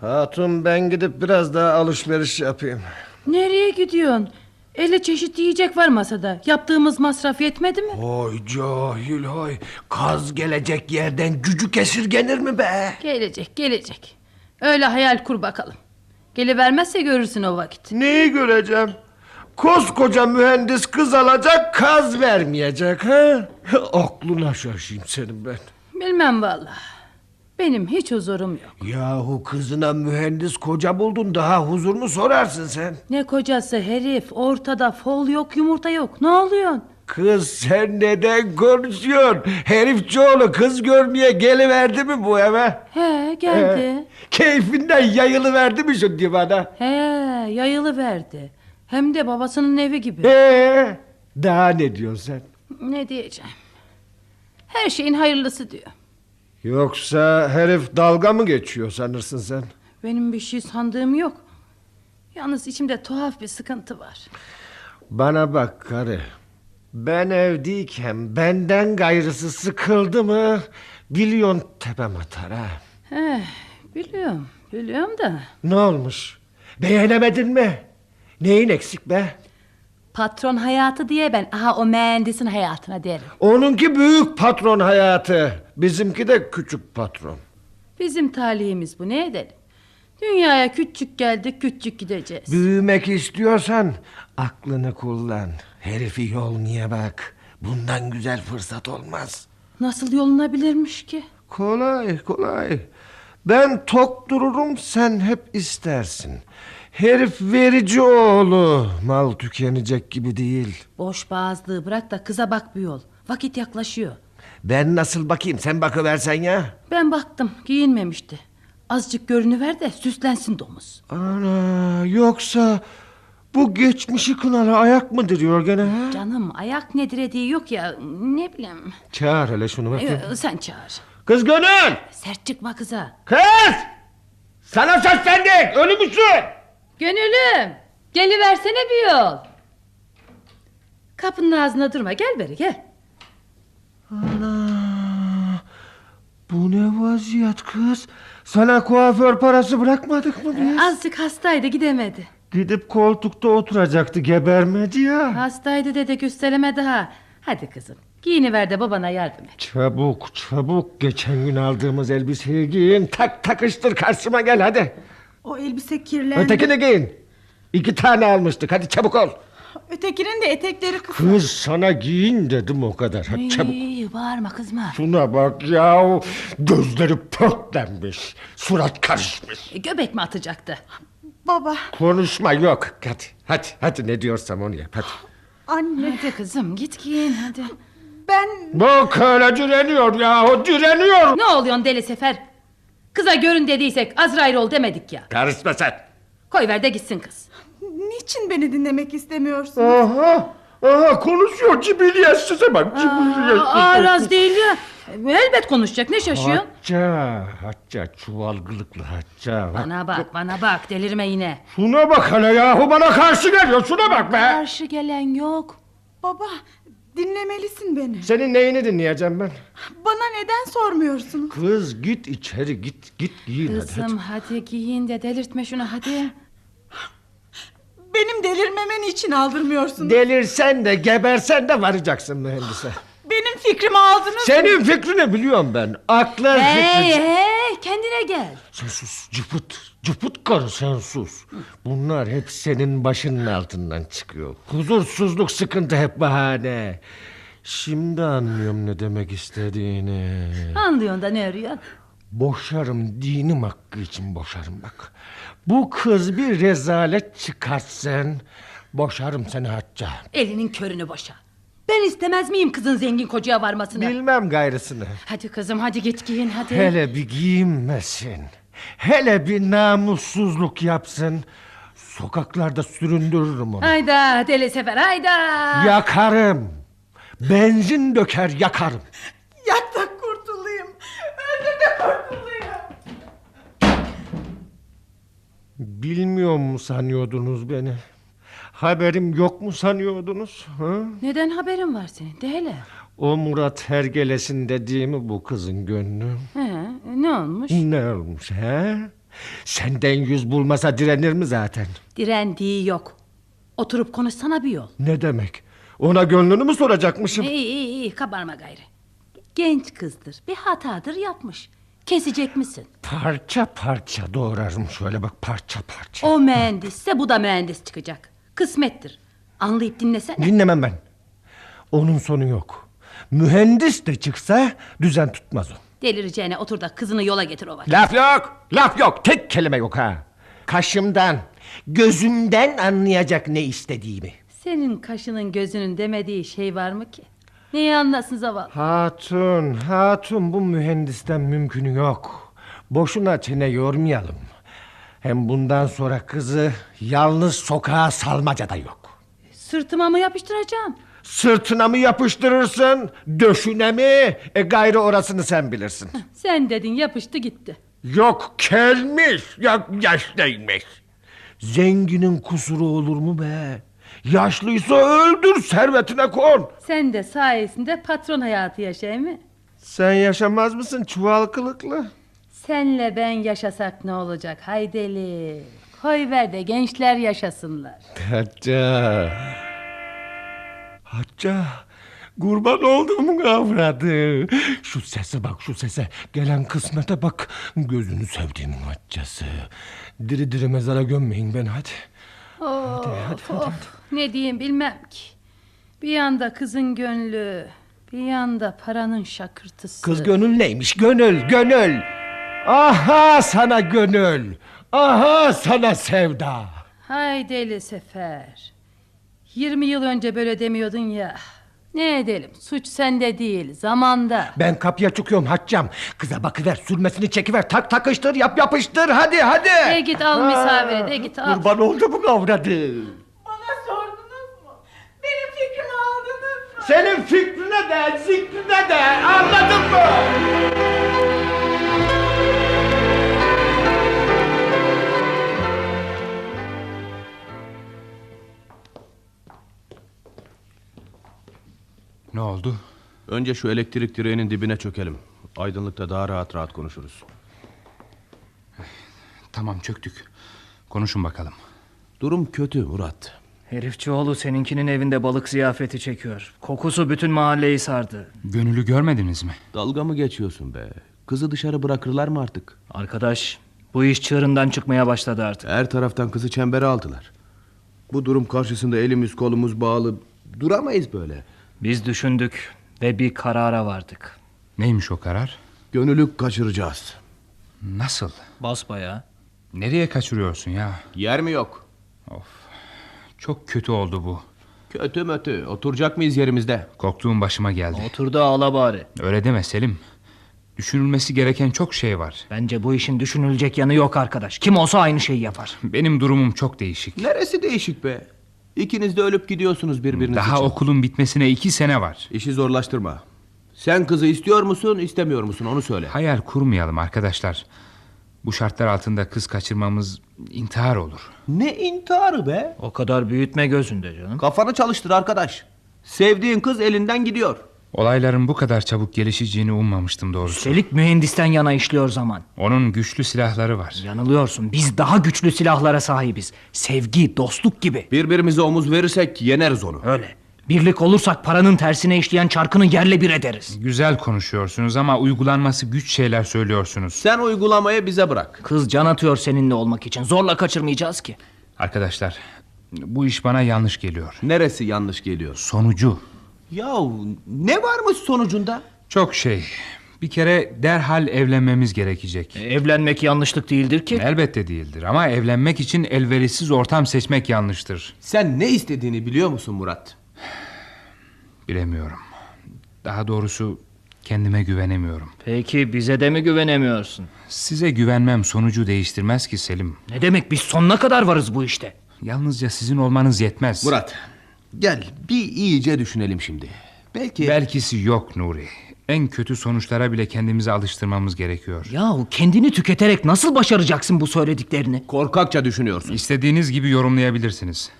[SPEAKER 11] Hatun ben gidip biraz daha alışveriş yapayım.
[SPEAKER 12] Nereye gidiyorsun? Ele çeşit yiyecek var masada. Yaptığımız masraf yetmedi mi?
[SPEAKER 6] Oy cahil hay. Kaz gelecek yerden cücük esirgenir mi be?
[SPEAKER 12] Gelecek, gelecek. Öyle hayal kur bakalım. Gelivermezse görürsün o vakit.
[SPEAKER 11] Neyi göreceğim? Koskoca mühendis kız alacak kaz vermeyecek ha? Aklına şaşayım senin ben.
[SPEAKER 12] Bilmem vallahi. Benim hiç huzurum yok.
[SPEAKER 6] Yahu kızına mühendis koca buldun daha huzur mu sorarsın sen?
[SPEAKER 12] Ne kocası herif, ortada fol yok, yumurta yok. Ne oluyorsun?
[SPEAKER 6] Kız sen neden konuşuyorsun? Herifçoğlu kız görmeye geliverdi mi bu eve?
[SPEAKER 12] He, geldi.
[SPEAKER 6] He. Keyfinden yayılıverdi mi şu divana?
[SPEAKER 12] He, yayılı verdi. Hem de babasının evi gibi.
[SPEAKER 6] Ee, daha ne diyorsun sen?
[SPEAKER 12] Ne diyeceğim? Her şeyin hayırlısı diyor.
[SPEAKER 11] Yoksa herif dalga mı geçiyor sanırsın sen?
[SPEAKER 12] Benim bir şey sandığım yok. Yalnız içimde tuhaf bir sıkıntı var.
[SPEAKER 11] Bana bak karı.
[SPEAKER 6] Ben evdeyken benden gayrısı sıkıldı mı biliyon tepem atar ha.
[SPEAKER 12] Eh, biliyorum, biliyorum da.
[SPEAKER 6] Ne olmuş? Beğenemedin mi? Neyin eksik be?
[SPEAKER 12] Patron hayatı diye ben aha o mühendisin hayatına derim.
[SPEAKER 6] Onunki büyük patron hayatı. Bizimki de küçük patron.
[SPEAKER 12] Bizim talihimiz bu ne edelim. Dünyaya küçük geldik küçük gideceğiz.
[SPEAKER 6] Büyümek istiyorsan aklını kullan. Herifi yolmaya bak. Bundan güzel fırsat olmaz.
[SPEAKER 12] Nasıl yolunabilirmiş ki?
[SPEAKER 6] Kolay kolay. Ben tok dururum sen hep istersin. Herif verici oğlu. Mal tükenecek gibi değil.
[SPEAKER 12] Boş boğazlığı bırak da kıza bak bir yol. Vakit yaklaşıyor.
[SPEAKER 6] Ben nasıl bakayım sen bakıversen ya.
[SPEAKER 12] Ben baktım giyinmemişti. Azıcık görünüver de süslensin domuz.
[SPEAKER 6] Ana yoksa bu geçmişi kınalı ayak mı diriyor gene ha?
[SPEAKER 12] Canım ayak ne dirediği yok ya ne bileyim.
[SPEAKER 6] Çağır hele şunu bakayım.
[SPEAKER 12] Ee, sen çağır.
[SPEAKER 6] Kız gönül!
[SPEAKER 12] Sert çıkma kıza.
[SPEAKER 6] Kız! Sana seslendik ölü müsün?
[SPEAKER 12] Gönülüm geliversene bir yol. Kapının ağzına durma gel beri gel.
[SPEAKER 6] Ana! Bu ne vaziyet kız? Sana kuaför parası bırakmadık mı biz?
[SPEAKER 12] Azıcık hastaydı gidemedi.
[SPEAKER 6] Gidip koltukta oturacaktı gebermedi ya.
[SPEAKER 12] Hastaydı dede göstereme daha. Hadi kızım giyiniver de babana yardım et.
[SPEAKER 6] Çabuk çabuk geçen gün aldığımız elbiseyi giyin tak takıştır karşıma gel hadi.
[SPEAKER 13] O elbise kirlendi.
[SPEAKER 6] Ötekini giyin. İki tane almıştık hadi çabuk ol.
[SPEAKER 13] Ötekinin de etekleri kısa.
[SPEAKER 6] Kız sana giyin dedim o kadar hadi çabuk.
[SPEAKER 12] İyi bağırma kızma.
[SPEAKER 6] Şuna bak ya gözleri pörtlenmiş surat karışmış.
[SPEAKER 12] E, Göbek mi atacaktı?
[SPEAKER 13] Baba,
[SPEAKER 6] Konuşma yok hadi hadi hadi ne diyorsam onu yap hadi.
[SPEAKER 13] anne.
[SPEAKER 12] Hadi kızım git giyin hadi.
[SPEAKER 13] Ben...
[SPEAKER 6] Bu köle direniyor yahu direniyor.
[SPEAKER 12] Ne oluyorsun deli sefer? Kıza görün dediysek Azrail ol demedik ya.
[SPEAKER 6] Karışma sen.
[SPEAKER 12] Koy ver de gitsin kız.
[SPEAKER 13] Niçin beni dinlemek istemiyorsun?
[SPEAKER 6] Aha aha konuşuyor cibiliyetsize bak cibiliyetsize.
[SPEAKER 12] Araz değil ya. Elbet konuşacak ne şaşıyorsun?
[SPEAKER 6] Hacca, hacca, çuvalgılıklı hacca. Bak.
[SPEAKER 12] Bana bak bana bak delirme yine.
[SPEAKER 6] Şuna bak hele yahu bana karşı geliyor şuna bak be.
[SPEAKER 12] Karşı gelen yok.
[SPEAKER 13] Baba, dinlemelisin beni.
[SPEAKER 6] Senin neyini dinleyeceğim ben?
[SPEAKER 13] Bana neden sormuyorsun?
[SPEAKER 6] Kız git içeri git git giyin hadi,
[SPEAKER 12] Kızım hadi giyin de delirtme şunu hadi.
[SPEAKER 13] Benim delirmemeni için aldırmıyorsun.
[SPEAKER 6] hadi. Delirsen de gebersen de varacaksın mühendise.
[SPEAKER 13] Benim fikrimi aldınız.
[SPEAKER 6] Senin fikrini biliyorum ben. Aklın
[SPEAKER 12] Hey
[SPEAKER 6] fikri...
[SPEAKER 12] hey kendine gel.
[SPEAKER 6] Sen sus cıpıt. Cıpıt karı sen sus. Bunlar hep senin başının altından çıkıyor. Huzursuzluk sıkıntı hep bahane. Şimdi anlıyorum ne demek istediğini.
[SPEAKER 12] Anlıyorsun da ne arıyorsun?
[SPEAKER 6] Boşarım dinim hakkı için boşarım bak. Bu kız bir rezalet çıkartsın. Boşarım seni hatta.
[SPEAKER 12] Elinin körünü boşa. Ben istemez miyim kızın zengin kocaya varmasını?
[SPEAKER 6] Bilmem gayrısını.
[SPEAKER 12] Hadi kızım hadi git giyin hadi.
[SPEAKER 6] Hele bir giyinmesin. Hele bir namussuzluk yapsın. Sokaklarda süründürürüm onu.
[SPEAKER 12] Hayda deli sefer hayda.
[SPEAKER 6] Yakarım. Benzin döker yakarım.
[SPEAKER 13] Yak da kurtulayım. Öldür de kurtulayım.
[SPEAKER 6] Bilmiyor mu sanıyordunuz beni? Haberim yok mu sanıyordunuz? Ha?
[SPEAKER 12] Neden haberin var senin de hele.
[SPEAKER 6] O Murat Hergeles'in dediği mi bu kızın gönlü?
[SPEAKER 12] He, ne olmuş?
[SPEAKER 6] Ne olmuş he? Senden yüz bulmasa direnir mi zaten?
[SPEAKER 12] Direndiği yok. Oturup konuşsana bir yol.
[SPEAKER 6] Ne demek? Ona gönlünü mü soracakmışım?
[SPEAKER 12] İyi iyi iyi kabarma gayrı. Genç kızdır bir hatadır yapmış. Kesecek misin?
[SPEAKER 6] Parça parça doğrarım şöyle bak parça parça.
[SPEAKER 12] O mühendisse bu da mühendis çıkacak. Kısmettir. Anlayıp dinlesen.
[SPEAKER 6] Dinlemem ben. Onun sonu yok. Mühendis de çıksa düzen tutmaz o.
[SPEAKER 12] Delireceğine otur da kızını yola getir o vakit.
[SPEAKER 6] Laf yok, laf yok. Tek kelime yok ha. Kaşımdan, gözümden anlayacak ne istediğimi.
[SPEAKER 12] Senin kaşının gözünün demediği şey var mı ki? Neyi anlasın zavallı?
[SPEAKER 6] Hatun, hatun bu mühendisten mümkünü yok. Boşuna çene yormayalım. Hem bundan sonra kızı yalnız sokağa salmaca da yok.
[SPEAKER 12] Sırtıma mı yapıştıracağım?
[SPEAKER 6] Sırtına mı yapıştırırsın, döşüne mi? E gayrı orasını sen bilirsin.
[SPEAKER 12] Sen dedin yapıştı gitti.
[SPEAKER 6] yok kelmiş, yok yaşlıymış. Zenginin kusuru olur mu be? Yaşlıysa öldür servetine kon.
[SPEAKER 12] Sen de sayesinde patron hayatı yaşa mi?
[SPEAKER 6] Sen yaşamaz mısın çuval kılıklı?
[SPEAKER 12] Senle ben yaşasak ne olacak haydeli. Koy ver de gençler yaşasınlar.
[SPEAKER 6] Hacca. Hacca. Kurban oldum kavradı. Şu sese bak şu sese. Gelen kısmete bak. Gözünü sevdiğimin haccası. Diri diri mezara gömmeyin ben hadi.
[SPEAKER 12] Of, of. Ne diyeyim bilmem ki. Bir yanda kızın gönlü, bir yanda paranın şakırtısı.
[SPEAKER 6] Kız gönül neymiş? Gönül, gönül. Aha sana gönül. Aha sana sevda.
[SPEAKER 12] Hay deli sefer. 20 yıl önce böyle demiyordun ya. Ne edelim suç sende değil zamanda.
[SPEAKER 6] Ben kapıya çıkıyorum haccam. Kıza bakıver, sürmesini çekiver. Tak takıştır, yap yapıştır. Hadi hadi.
[SPEAKER 12] De git al misafiri de git al.
[SPEAKER 6] Kurban oldu bu kavradı.
[SPEAKER 13] Bana sordunuz mu? Benim fikrimi aldınız mı?
[SPEAKER 6] Senin fikrine de, zikrine de anladın mı?
[SPEAKER 4] Ne oldu?
[SPEAKER 7] Önce şu elektrik direğinin dibine çökelim. Aydınlıkta daha rahat rahat konuşuruz.
[SPEAKER 4] Tamam çöktük. Konuşun bakalım.
[SPEAKER 7] Durum kötü Murat.
[SPEAKER 8] Herifçioğlu seninkinin evinde balık ziyafeti çekiyor. Kokusu bütün mahalleyi sardı.
[SPEAKER 4] Gönül'ü görmediniz mi?
[SPEAKER 7] Dalga mı geçiyorsun be? Kızı dışarı bırakırlar mı artık?
[SPEAKER 8] Arkadaş bu iş çığırından çıkmaya başladı artık.
[SPEAKER 4] Er-
[SPEAKER 7] Her taraftan kızı çembere aldılar. Bu durum karşısında elimiz kolumuz bağlı. Duramayız böyle.
[SPEAKER 8] Biz düşündük ve bir karara vardık.
[SPEAKER 4] Neymiş o karar?
[SPEAKER 7] Gönülü kaçıracağız.
[SPEAKER 4] Nasıl?
[SPEAKER 8] Basbaya.
[SPEAKER 4] Nereye kaçırıyorsun ya?
[SPEAKER 7] Yer mi yok?
[SPEAKER 4] Çok kötü oldu bu.
[SPEAKER 7] Kötü mötü. Oturacak mıyız yerimizde?
[SPEAKER 4] Korktuğum başıma geldi.
[SPEAKER 8] Otur da ağla bari.
[SPEAKER 4] Öyle deme Selim. Düşünülmesi gereken çok şey var.
[SPEAKER 8] Bence bu işin düşünülecek yanı yok arkadaş. Kim olsa aynı şeyi yapar.
[SPEAKER 4] Benim durumum çok değişik.
[SPEAKER 7] Neresi değişik be? İkiniz de ölüp gidiyorsunuz birbiriniz
[SPEAKER 4] Daha
[SPEAKER 7] için.
[SPEAKER 4] okulun bitmesine iki sene var.
[SPEAKER 7] İşi zorlaştırma. Sen kızı istiyor musun, istemiyor musun onu söyle.
[SPEAKER 4] Hayal kurmayalım arkadaşlar. Bu şartlar altında kız kaçırmamız intihar olur.
[SPEAKER 7] Ne intiharı be?
[SPEAKER 8] O kadar büyütme gözünde canım.
[SPEAKER 7] Kafanı çalıştır arkadaş. Sevdiğin kız elinden gidiyor.
[SPEAKER 4] Olayların bu kadar çabuk gelişeceğini ummamıştım doğrusu.
[SPEAKER 8] Üstelik mühendisten yana işliyor zaman.
[SPEAKER 4] Onun güçlü silahları var.
[SPEAKER 8] Yanılıyorsun. Biz daha güçlü silahlara sahibiz. Sevgi, dostluk gibi.
[SPEAKER 7] Birbirimize omuz verirsek yeneriz onu.
[SPEAKER 8] Öyle. Birlik olursak paranın tersine işleyen çarkını yerle bir ederiz.
[SPEAKER 4] Güzel konuşuyorsunuz ama uygulanması güç şeyler söylüyorsunuz.
[SPEAKER 7] Sen uygulamayı bize bırak.
[SPEAKER 8] Kız can atıyor seninle olmak için. Zorla kaçırmayacağız ki.
[SPEAKER 4] Arkadaşlar bu iş bana yanlış geliyor.
[SPEAKER 7] Neresi yanlış geliyor?
[SPEAKER 4] Sonucu.
[SPEAKER 7] Yahu ne varmış sonucunda?
[SPEAKER 4] Çok şey. Bir kere derhal evlenmemiz gerekecek.
[SPEAKER 8] E, Evlenmek yanlışlık değildir ki.
[SPEAKER 4] Elbette değildir ama evlenmek için elverişsiz ortam seçmek yanlıştır.
[SPEAKER 7] Sen ne istediğini biliyor musun Murat?
[SPEAKER 4] Bilemiyorum. Daha doğrusu kendime güvenemiyorum.
[SPEAKER 8] Peki bize de mi güvenemiyorsun?
[SPEAKER 4] Size güvenmem sonucu değiştirmez ki Selim.
[SPEAKER 8] Ne demek biz sonuna kadar varız bu işte.
[SPEAKER 4] Yalnızca sizin olmanız yetmez.
[SPEAKER 7] Murat gel bir iyice düşünelim şimdi. Belki...
[SPEAKER 4] Belkisi yok Nuri. En kötü sonuçlara bile kendimizi alıştırmamız gerekiyor.
[SPEAKER 8] Yahu kendini tüketerek nasıl başaracaksın bu söylediklerini?
[SPEAKER 7] Korkakça düşünüyorsun.
[SPEAKER 4] İstediğiniz gibi yorumlayabilirsiniz.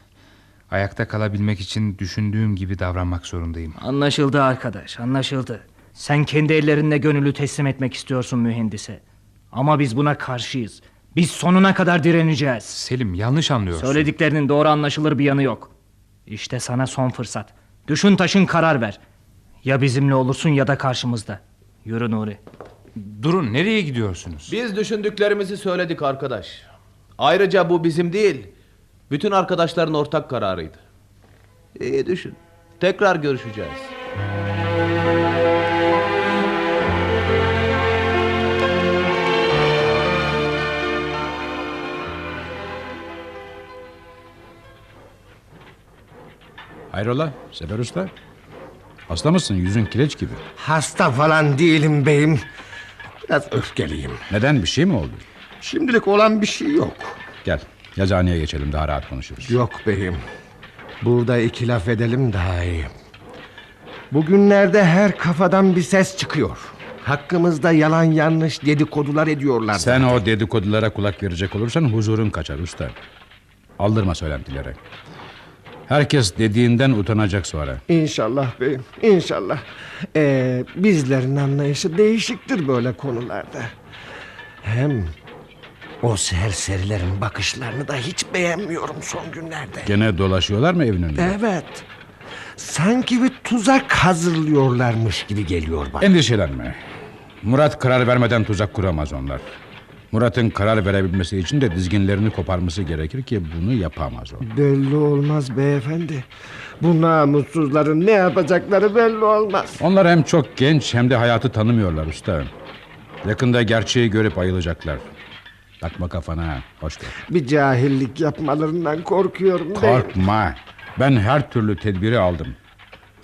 [SPEAKER 4] Ayakta kalabilmek için düşündüğüm gibi davranmak zorundayım.
[SPEAKER 8] Anlaşıldı arkadaş, anlaşıldı. Sen kendi ellerinle gönüllü teslim etmek istiyorsun mühendise. Ama biz buna karşıyız. Biz sonuna kadar direneceğiz.
[SPEAKER 4] Selim yanlış anlıyorsun.
[SPEAKER 8] Söylediklerinin doğru anlaşılır bir yanı yok. İşte sana son fırsat. Düşün taşın karar ver. Ya bizimle olursun ya da karşımızda. Yürü Nuri.
[SPEAKER 4] Durun nereye gidiyorsunuz?
[SPEAKER 7] Biz düşündüklerimizi söyledik arkadaş. Ayrıca bu bizim değil. Bütün arkadaşların ortak kararıydı. İyi düşün. Tekrar görüşeceğiz.
[SPEAKER 3] Hayrola Sefer Usta? Hasta mısın? Yüzün kireç gibi.
[SPEAKER 6] Hasta falan değilim beyim. Biraz öfkeliyim.
[SPEAKER 3] Neden bir şey mi oldu?
[SPEAKER 6] Şimdilik olan bir şey yok.
[SPEAKER 3] Gel yazıhaneye geçelim daha rahat konuşuruz.
[SPEAKER 6] Yok beyim. Burada iki laf edelim daha iyi. Bugünlerde her kafadan bir ses çıkıyor. Hakkımızda yalan yanlış dedikodular ediyorlar.
[SPEAKER 3] Sen o dedikodulara kulak verecek olursan huzurun kaçar usta. Aldırma söylentileri. Herkes dediğinden utanacak sonra.
[SPEAKER 6] İnşallah beyim, inşallah. Ee, bizlerin anlayışı değişiktir böyle konularda. Hem o serserilerin bakışlarını da hiç beğenmiyorum son günlerde.
[SPEAKER 3] Gene dolaşıyorlar mı evin önünde?
[SPEAKER 6] Evet. Sanki bir tuzak hazırlıyorlarmış gibi geliyor bana.
[SPEAKER 3] Endişelenme. Murat karar vermeden tuzak kuramaz onlar. Murat'ın karar verebilmesi için de dizginlerini koparması gerekir ki bunu yapamaz o.
[SPEAKER 6] Belli olmaz beyefendi. Bu namussuzların ne yapacakları belli olmaz.
[SPEAKER 3] Onlar hem çok genç hem de hayatı tanımıyorlar usta. Yakında gerçeği görüp ayılacaklar. Takma kafana, hoş ver.
[SPEAKER 6] Bir cahillik yapmalarından korkuyorum. beyim.
[SPEAKER 3] Korkma. Ben her türlü tedbiri aldım.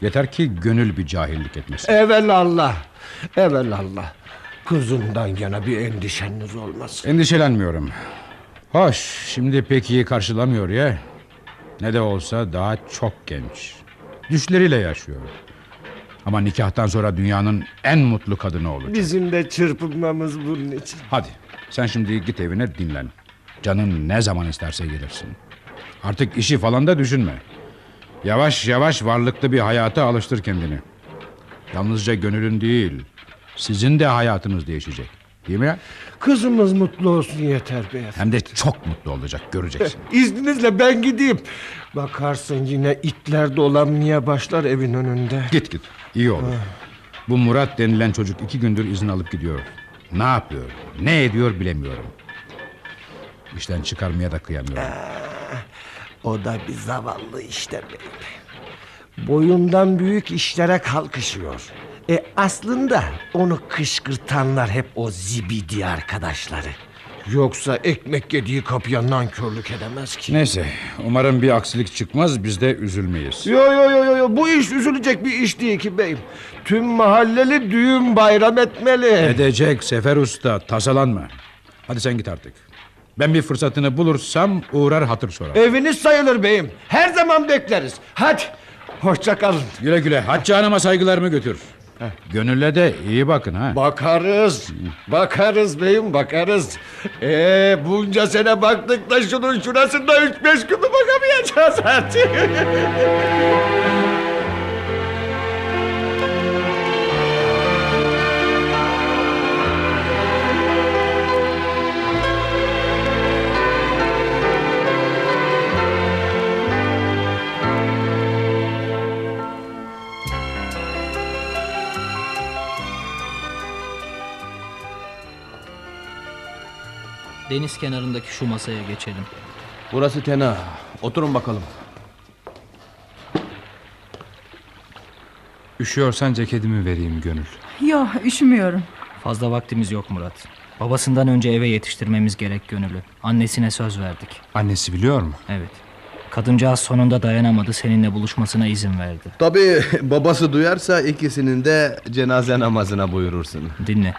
[SPEAKER 3] Yeter ki gönül bir cahillik etmesin.
[SPEAKER 6] Evelallah. Evelallah. Kızımdan yana bir endişeniz olmasın.
[SPEAKER 3] Endişelenmiyorum. Hoş, şimdi pek iyi karşılamıyor ya. Ne de olsa daha çok genç. Düşleriyle yaşıyor. Ama nikahtan sonra dünyanın en mutlu kadını olacak.
[SPEAKER 6] Bizim de çırpınmamız bunun için.
[SPEAKER 3] Hadi sen şimdi git evine dinlen. Canın ne zaman isterse gelirsin. Artık işi falan da düşünme. Yavaş yavaş varlıklı bir hayata alıştır kendini. Yalnızca gönülün değil, sizin de hayatınız değişecek. Değil mi?
[SPEAKER 6] Kızımız mutlu olsun yeter be.
[SPEAKER 3] Hem de çok mutlu olacak, göreceksin.
[SPEAKER 6] İzninizle ben gideyim. Bakarsın yine itler dolanmaya başlar evin önünde.
[SPEAKER 3] Git git, iyi olur.
[SPEAKER 6] Ah.
[SPEAKER 3] Bu Murat denilen çocuk iki gündür izin alıp gidiyor. Ne yapıyor, ne ediyor bilemiyorum. İşten çıkarmaya da kıyamıyorum.
[SPEAKER 6] Ee, O da bir zavallı işte benim. Boyundan büyük işlere kalkışıyor. E aslında onu kışkırtanlar hep o zibidi arkadaşları. Yoksa ekmek yediği kapıya nankörlük edemez ki.
[SPEAKER 3] Neyse, umarım bir aksilik çıkmaz, biz de üzülmeyiz.
[SPEAKER 6] Yo yo yo yo, yo bu iş üzülecek bir iş değil ki beyim. Tüm mahalleli düğün bayram etmeli.
[SPEAKER 3] Edecek Sefer Usta, tasalanma. Hadi sen git artık. Ben bir fırsatını bulursam uğrar hatır sorar.
[SPEAKER 6] Eviniz sayılır beyim. Her zaman bekleriz. Hadi hoşça kalın.
[SPEAKER 3] Güle güle, Hacı Hanım'a saygılarımı götür. Gönülle de iyi bakın ha.
[SPEAKER 6] Bakarız. Bakarız beyim bakarız. Ee, bunca sene baktık da şunun şurasında üç beş günü bakamayacağız artık.
[SPEAKER 14] Deniz kenarındaki şu masaya geçelim.
[SPEAKER 7] Burası tena. Oturun bakalım.
[SPEAKER 4] Üşüyorsan ceketimi vereyim gönül.
[SPEAKER 13] Yok üşümüyorum.
[SPEAKER 14] Fazla vaktimiz yok Murat. Babasından önce eve yetiştirmemiz gerek gönülü. Annesine söz verdik.
[SPEAKER 4] Annesi biliyor mu?
[SPEAKER 14] Evet. Kadıncağız sonunda dayanamadı seninle buluşmasına izin verdi.
[SPEAKER 7] Tabii babası duyarsa ikisinin de cenaze namazına buyurursun.
[SPEAKER 14] Dinle.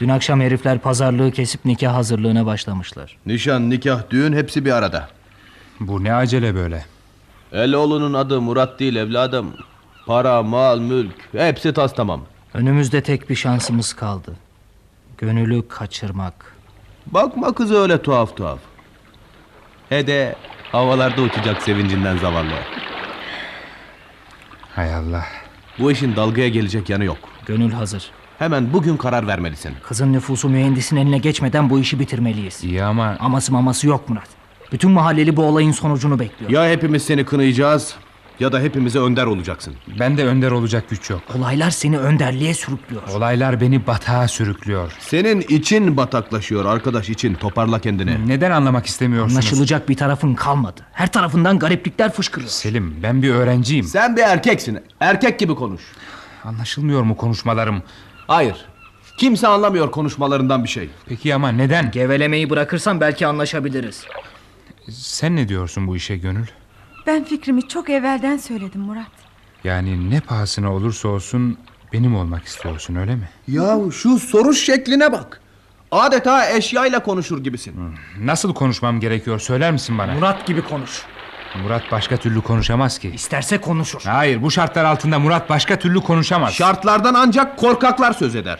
[SPEAKER 14] Dün akşam herifler pazarlığı kesip nikah hazırlığına başlamışlar.
[SPEAKER 7] Nişan, nikah, düğün hepsi bir arada.
[SPEAKER 4] Bu ne acele böyle?
[SPEAKER 7] Eloğlu'nun adı Murat değil evladım. Para, mal, mülk hepsi tas tamam.
[SPEAKER 14] Önümüzde tek bir şansımız kaldı. Gönülü kaçırmak.
[SPEAKER 7] Bakma kız öyle tuhaf tuhaf. He de havalarda uçacak sevincinden zavallı.
[SPEAKER 4] Hay Allah.
[SPEAKER 7] Bu işin dalgaya gelecek yanı yok.
[SPEAKER 14] Gönül hazır.
[SPEAKER 7] Hemen bugün karar vermelisin.
[SPEAKER 14] Kızın nüfusu mühendisin eline geçmeden bu işi bitirmeliyiz.
[SPEAKER 4] İyi ama...
[SPEAKER 14] Aması maması yok Murat. Bütün mahalleli bu olayın sonucunu bekliyor.
[SPEAKER 7] Ya hepimiz seni kınayacağız ya da hepimize önder olacaksın.
[SPEAKER 4] Ben de önder olacak güç yok.
[SPEAKER 14] Olaylar seni önderliğe sürüklüyor.
[SPEAKER 4] Olaylar beni batağa sürüklüyor.
[SPEAKER 7] Senin için bataklaşıyor arkadaş için. Toparla kendini.
[SPEAKER 4] Neden anlamak istemiyorsunuz?
[SPEAKER 14] Anlaşılacak bir tarafın kalmadı. Her tarafından gariplikler fışkırıyor.
[SPEAKER 4] Selim ben bir öğrenciyim.
[SPEAKER 7] Sen bir erkeksin. Erkek gibi konuş.
[SPEAKER 4] Anlaşılmıyor mu konuşmalarım?
[SPEAKER 7] Hayır. Kimse anlamıyor konuşmalarından bir şey.
[SPEAKER 4] Peki ama neden?
[SPEAKER 14] Gevelemeyi bırakırsan belki anlaşabiliriz.
[SPEAKER 4] Sen ne diyorsun bu işe gönül?
[SPEAKER 13] Ben fikrimi çok evvelden söyledim Murat.
[SPEAKER 4] Yani ne pahasına olursa olsun benim olmak istiyorsun öyle mi?
[SPEAKER 7] Yahu şu soru şekline bak. Adeta eşyayla konuşur gibisin.
[SPEAKER 4] Hmm, Nasıl konuşmam gerekiyor söyler misin bana?
[SPEAKER 14] Murat gibi konuş.
[SPEAKER 4] Murat başka türlü konuşamaz ki.
[SPEAKER 14] İsterse konuşur.
[SPEAKER 4] Hayır bu şartlar altında Murat başka türlü konuşamaz.
[SPEAKER 7] Şartlardan ancak korkaklar söz eder.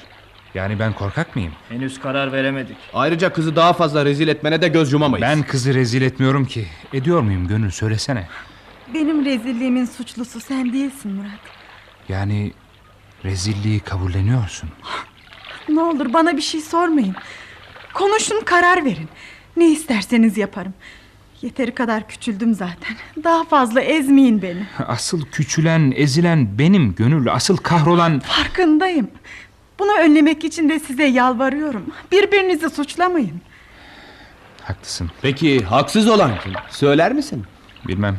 [SPEAKER 4] yani ben korkak mıyım?
[SPEAKER 14] Henüz karar veremedik.
[SPEAKER 7] Ayrıca kızı daha fazla rezil etmene de göz yumamayız.
[SPEAKER 4] Ben kızı rezil etmiyorum ki. Ediyor muyum gönül söylesene.
[SPEAKER 15] Benim rezilliğimin suçlusu sen değilsin Murat.
[SPEAKER 4] Yani rezilliği kabulleniyorsun.
[SPEAKER 15] Ne olur bana bir şey sormayın. Konuşun karar verin. Ne isterseniz yaparım. Yeteri kadar küçüldüm zaten. Daha fazla ezmeyin beni.
[SPEAKER 4] Asıl küçülen, ezilen benim gönül. Asıl kahrolan...
[SPEAKER 15] Farkındayım. Bunu önlemek için de size yalvarıyorum. Birbirinizi suçlamayın.
[SPEAKER 4] Haklısın.
[SPEAKER 7] Peki haksız olan kim? Söyler misin?
[SPEAKER 4] Bilmem.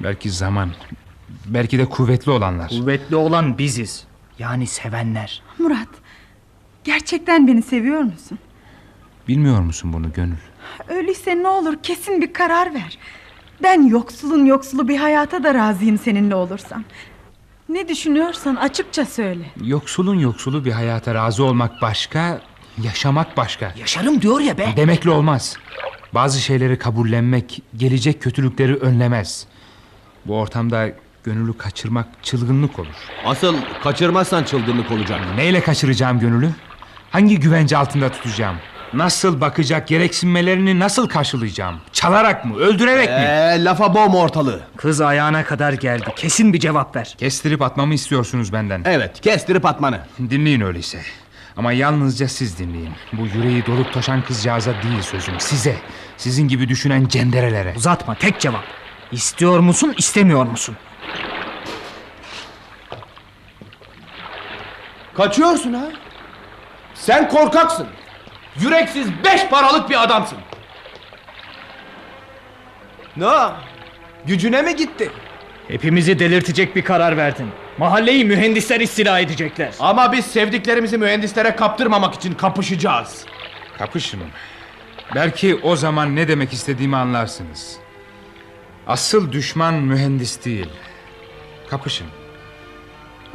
[SPEAKER 4] Belki zaman. Belki de kuvvetli olanlar.
[SPEAKER 14] Kuvvetli olan biziz. Yani sevenler.
[SPEAKER 15] Murat, gerçekten beni seviyor musun?
[SPEAKER 4] Bilmiyor musun bunu gönül?
[SPEAKER 15] Öyleyse ne olur kesin bir karar ver. Ben yoksulun yoksulu bir hayata da razıyım seninle olursam. Ne düşünüyorsan açıkça söyle.
[SPEAKER 4] Yoksulun yoksulu bir hayata razı olmak başka, yaşamak başka.
[SPEAKER 14] Yaşarım diyor ya be.
[SPEAKER 4] Demekle olmaz. Bazı şeyleri kabullenmek, gelecek kötülükleri önlemez. Bu ortamda gönülü kaçırmak çılgınlık olur.
[SPEAKER 7] Asıl kaçırmazsan çılgınlık olacak.
[SPEAKER 4] Neyle kaçıracağım gönülü? Hangi güvence altında tutacağım? Nasıl bakacak, gereksinmelerini nasıl karşılayacağım? Çalarak mı, öldürerek mi?
[SPEAKER 7] Eee Ee, lafa bom ortalığı.
[SPEAKER 4] Kız ayağına kadar geldi. Kesin bir cevap ver. Kestirip atmamı istiyorsunuz benden.
[SPEAKER 7] Evet, kestirip atmanı.
[SPEAKER 4] Dinleyin öyleyse. Ama yalnızca siz dinleyin. Bu yüreği dolup taşan kızcağıza değil sözüm. Size, sizin gibi düşünen cenderelere.
[SPEAKER 14] Uzatma, tek cevap. İstiyor musun, istemiyor musun?
[SPEAKER 7] Kaçıyorsun ha? Sen korkaksın. Yüreksiz beş paralık bir adamsın. Ne? o? Gücüne mi gitti?
[SPEAKER 14] Hepimizi delirtecek bir karar verdin. Mahalleyi mühendisler istila edecekler.
[SPEAKER 7] Ama biz sevdiklerimizi mühendislere kaptırmamak için kapışacağız.
[SPEAKER 4] Kapışın. Belki o zaman ne demek istediğimi anlarsınız. Asıl düşman mühendis değil. Kapışın.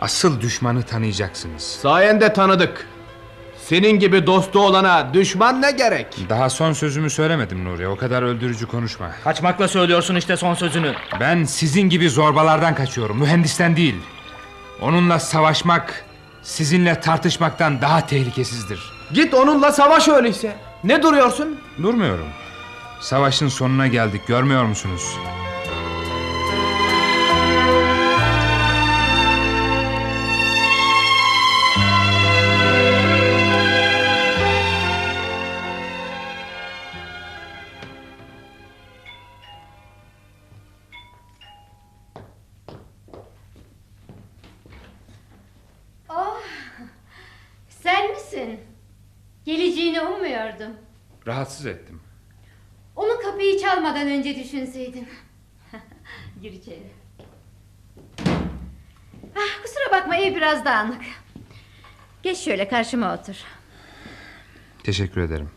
[SPEAKER 4] Asıl düşmanı tanıyacaksınız.
[SPEAKER 7] Sayende tanıdık. Senin gibi dostu olana düşman ne gerek?
[SPEAKER 4] Daha son sözümü söylemedim Nuriye. O kadar öldürücü konuşma.
[SPEAKER 14] Kaçmakla söylüyorsun işte son sözünü.
[SPEAKER 4] Ben sizin gibi zorbalardan kaçıyorum. Mühendisten değil. Onunla savaşmak sizinle tartışmaktan daha tehlikesizdir.
[SPEAKER 7] Git onunla savaş öyleyse. Ne duruyorsun?
[SPEAKER 4] Durmuyorum. Savaşın sonuna geldik. Görmüyor musunuz?
[SPEAKER 10] Oh, sen misin? Geleceğini ummuyordum.
[SPEAKER 4] Rahatsız ettim.
[SPEAKER 10] Onu kapıyı çalmadan önce düşünseydin. Gir içeri. Ah, kusura bakma ev biraz dağınık. Geç şöyle karşıma otur.
[SPEAKER 4] Teşekkür ederim.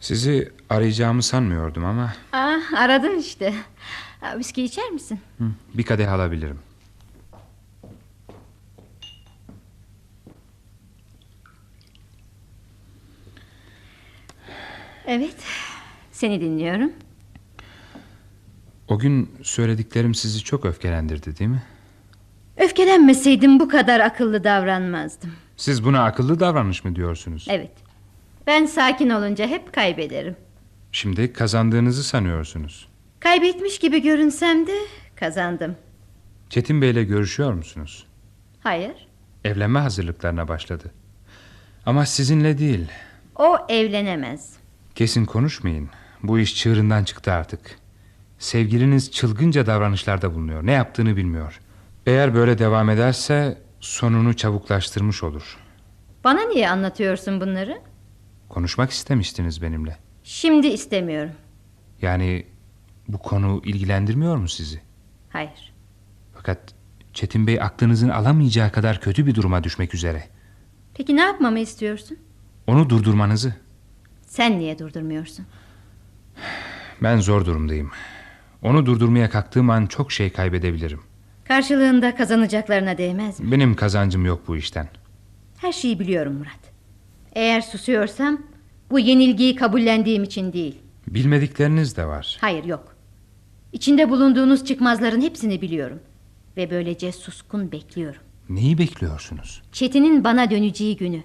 [SPEAKER 4] Sizi arayacağımı sanmıyordum ama
[SPEAKER 10] Ah, aradın işte. Ah, viski içer misin?
[SPEAKER 4] hı, bir kadeh alabilirim.
[SPEAKER 10] Evet. Seni dinliyorum.
[SPEAKER 4] O gün söylediklerim sizi çok öfkelendirdi değil mi?
[SPEAKER 10] Öfkelenmeseydim bu kadar akıllı davranmazdım.
[SPEAKER 4] Siz buna akıllı davranmış mı diyorsunuz?
[SPEAKER 10] Evet. Ben sakin olunca hep kaybederim.
[SPEAKER 4] Şimdi kazandığınızı sanıyorsunuz.
[SPEAKER 10] Kaybetmiş gibi görünsem de kazandım.
[SPEAKER 4] Çetin Bey'le görüşüyor musunuz?
[SPEAKER 10] Hayır.
[SPEAKER 4] Evlenme hazırlıklarına başladı. Ama sizinle değil.
[SPEAKER 10] O evlenemez.
[SPEAKER 4] Kesin konuşmayın. Bu iş çığırından çıktı artık. Sevgiliniz çılgınca davranışlarda bulunuyor. Ne yaptığını bilmiyor. Eğer böyle devam ederse sonunu çabuklaştırmış olur.
[SPEAKER 10] Bana niye anlatıyorsun bunları?
[SPEAKER 4] Konuşmak istemiştiniz benimle.
[SPEAKER 10] Şimdi istemiyorum.
[SPEAKER 4] Yani bu konu ilgilendirmiyor mu sizi?
[SPEAKER 10] Hayır.
[SPEAKER 4] Fakat Çetin Bey aklınızın alamayacağı kadar kötü bir duruma düşmek üzere.
[SPEAKER 10] Peki ne yapmamı istiyorsun?
[SPEAKER 4] Onu durdurmanızı.
[SPEAKER 10] Sen niye durdurmuyorsun?
[SPEAKER 4] Ben zor durumdayım. Onu durdurmaya kalktığım an çok şey kaybedebilirim.
[SPEAKER 10] Karşılığında kazanacaklarına değmez mi?
[SPEAKER 4] Benim kazancım yok bu işten.
[SPEAKER 10] Her şeyi biliyorum Murat. Eğer susuyorsam bu yenilgiyi kabullendiğim için değil.
[SPEAKER 4] Bilmedikleriniz de var.
[SPEAKER 10] Hayır yok. İçinde bulunduğunuz çıkmazların hepsini biliyorum. Ve böylece suskun bekliyorum.
[SPEAKER 4] Neyi bekliyorsunuz?
[SPEAKER 10] Çetin'in bana döneceği günü.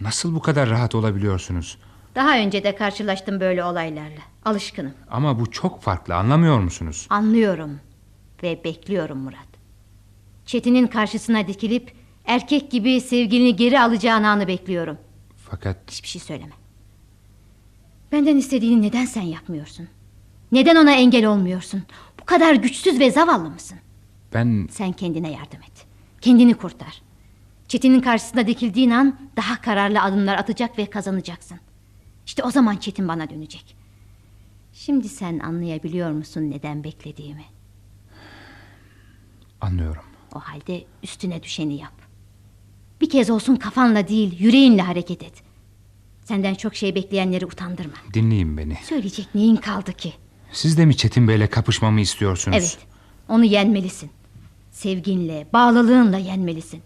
[SPEAKER 4] Nasıl bu kadar rahat olabiliyorsunuz?
[SPEAKER 10] Daha önce de karşılaştım böyle olaylarla. Alışkınım.
[SPEAKER 4] Ama bu çok farklı anlamıyor musunuz?
[SPEAKER 10] Anlıyorum ve bekliyorum Murat. Çetin'in karşısına dikilip erkek gibi sevgilini geri alacağını anı bekliyorum.
[SPEAKER 4] Fakat
[SPEAKER 10] Hiçbir şey söyleme. Benden istediğini neden sen yapmıyorsun? Neden ona engel olmuyorsun? Bu kadar güçsüz ve zavallı mısın?
[SPEAKER 4] ben
[SPEAKER 10] Sen kendine yardım et. Kendini kurtar. Çetin'in karşısına dikildiğin an daha kararlı adımlar atacak ve kazanacaksın. İşte o zaman Çetin bana dönecek. Şimdi sen anlayabiliyor musun neden beklediğimi?
[SPEAKER 4] anlıyorum.
[SPEAKER 10] O halde üstüne düşeni yap. Bir kez olsun kafanla değil, yüreğinle hareket et. Senden çok şey bekleyenleri utandırma.
[SPEAKER 4] Dinleyin beni.
[SPEAKER 10] Söyleyecek neyin kaldı ki?
[SPEAKER 4] Siz de mi Çetin Bey'le kapışmamı istiyorsunuz?
[SPEAKER 10] Evet. Onu yenmelisin. Sevginle, bağlılığınla yenmelisin.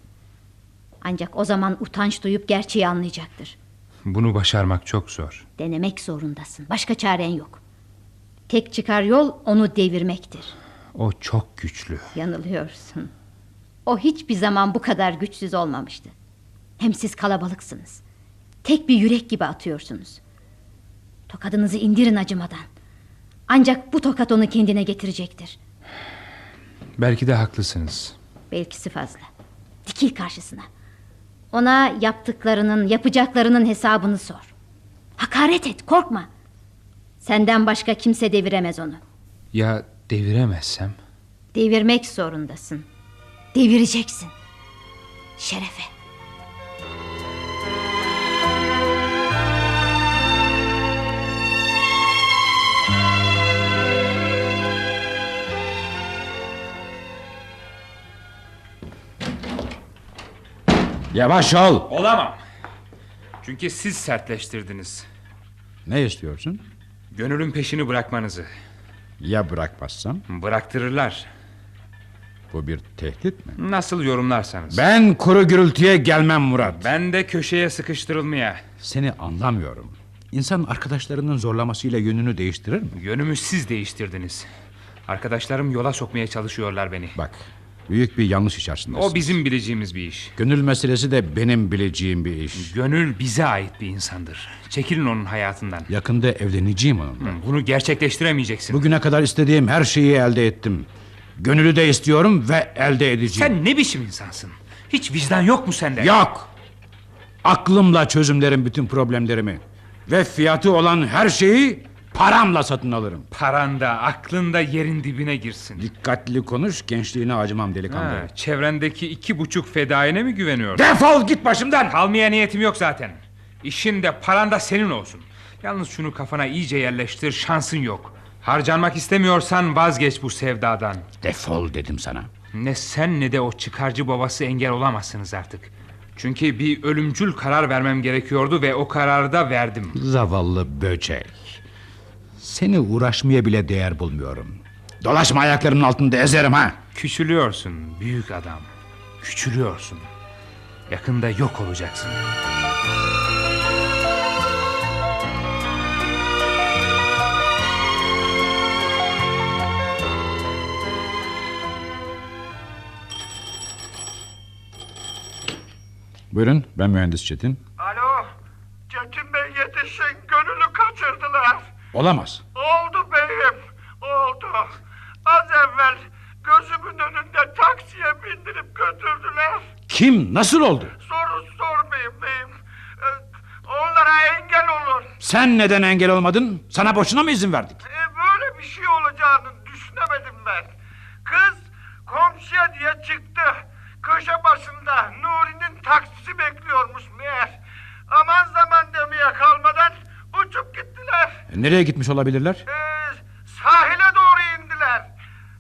[SPEAKER 10] Ancak o zaman utanç duyup gerçeği anlayacaktır.
[SPEAKER 4] Bunu başarmak çok zor.
[SPEAKER 10] Denemek zorundasın. Başka çaren yok. Tek çıkar yol onu devirmektir.
[SPEAKER 4] O çok güçlü.
[SPEAKER 10] Yanılıyorsun. O hiçbir zaman bu kadar güçsüz olmamıştı. Hem siz kalabalıksınız. Tek bir yürek gibi atıyorsunuz. Tokadınızı indirin acımadan. Ancak bu tokat onu kendine getirecektir.
[SPEAKER 4] Belki de haklısınız.
[SPEAKER 10] Belkisi fazla. Dikil karşısına. Ona yaptıklarının, yapacaklarının hesabını sor. Hakaret et, korkma. Senden başka kimse deviremez onu.
[SPEAKER 4] Ya deviremezsem?
[SPEAKER 10] Devirmek zorundasın. Devireceksin. Şerefe.
[SPEAKER 3] Yavaş ol.
[SPEAKER 4] Olamam. Çünkü siz sertleştirdiniz.
[SPEAKER 3] Ne istiyorsun?
[SPEAKER 4] Gönülün peşini bırakmanızı.
[SPEAKER 3] Ya bırakmazsam?
[SPEAKER 4] Bıraktırırlar.
[SPEAKER 3] Bu bir tehdit mi?
[SPEAKER 4] Nasıl yorumlarsanız.
[SPEAKER 3] Ben kuru gürültüye gelmem Murat.
[SPEAKER 4] Ben de köşeye sıkıştırılmaya.
[SPEAKER 3] Seni anlamıyorum. İnsan arkadaşlarının zorlamasıyla yönünü değiştirir mi?
[SPEAKER 4] Yönümü siz değiştirdiniz. Arkadaşlarım yola sokmaya çalışıyorlar beni.
[SPEAKER 3] Bak. Büyük bir yanlış içerisindesin.
[SPEAKER 4] O bizim bileceğimiz bir iş.
[SPEAKER 3] Gönül meselesi de benim bileceğim bir iş.
[SPEAKER 4] Gönül bize ait bir insandır. Çekilin onun hayatından.
[SPEAKER 3] Yakında evleneceğim onunla.
[SPEAKER 4] Hı, Bunu gerçekleştiremeyeceksin.
[SPEAKER 3] Bugüne kadar istediğim her şeyi elde ettim. Gönülü de istiyorum ve elde edeceğim.
[SPEAKER 4] Sen ne biçim insansın? Hiç vicdan yok mu sende?
[SPEAKER 3] Yok. Aklımla çözümlerim bütün problemlerimi. Ve fiyatı olan her şeyi paramla satın alırım.
[SPEAKER 4] Paranda, aklında yerin dibine girsin.
[SPEAKER 3] Dikkatli konuş, gençliğine acımam delikanlı.
[SPEAKER 4] Ha, çevrendeki iki buçuk fedaine mi güveniyorsun?
[SPEAKER 3] Defol git başımdan!
[SPEAKER 4] Kalmaya niyetim yok zaten. İşin de paran da senin olsun. Yalnız şunu kafana iyice yerleştir, şansın yok. Harcanmak istemiyorsan vazgeç bu sevdadan.
[SPEAKER 3] Defol dedim sana.
[SPEAKER 4] Ne sen ne de o çıkarcı babası engel olamazsınız artık. Çünkü bir ölümcül karar vermem gerekiyordu ve o kararı da verdim.
[SPEAKER 3] Zavallı böcek. Seni uğraşmaya bile değer bulmuyorum. Dolaşma ayaklarının altında ezerim ha.
[SPEAKER 4] Küçülüyorsun büyük adam. Küçülüyorsun. Yakında yok olacaksın.
[SPEAKER 3] Buyurun ben mühendis Çetin.
[SPEAKER 13] Alo. Çetin Bey yetişin gönülü kaçırdılar.
[SPEAKER 3] Olamaz.
[SPEAKER 13] Oldu beyim. Oldu. Az evvel gözümün önünde taksiye bindirip götürdüler.
[SPEAKER 3] Kim nasıl oldu?
[SPEAKER 13] Soru sormayın beyim. Ee, Onlara engel olun.
[SPEAKER 3] Sen neden engel olmadın? Sana boşuna mı izin verdik?
[SPEAKER 13] Ee, Böyle bir şey olacağını düşünemedim ben. Kız komşuya diye çıktı. Köşe başında Nuri'nin taksisi bekliyormuş meğer. Aman zaman demeye kalmadan uçup gittiler.
[SPEAKER 3] E, Nereye gitmiş olabilirler?
[SPEAKER 13] Sahile doğru indiler.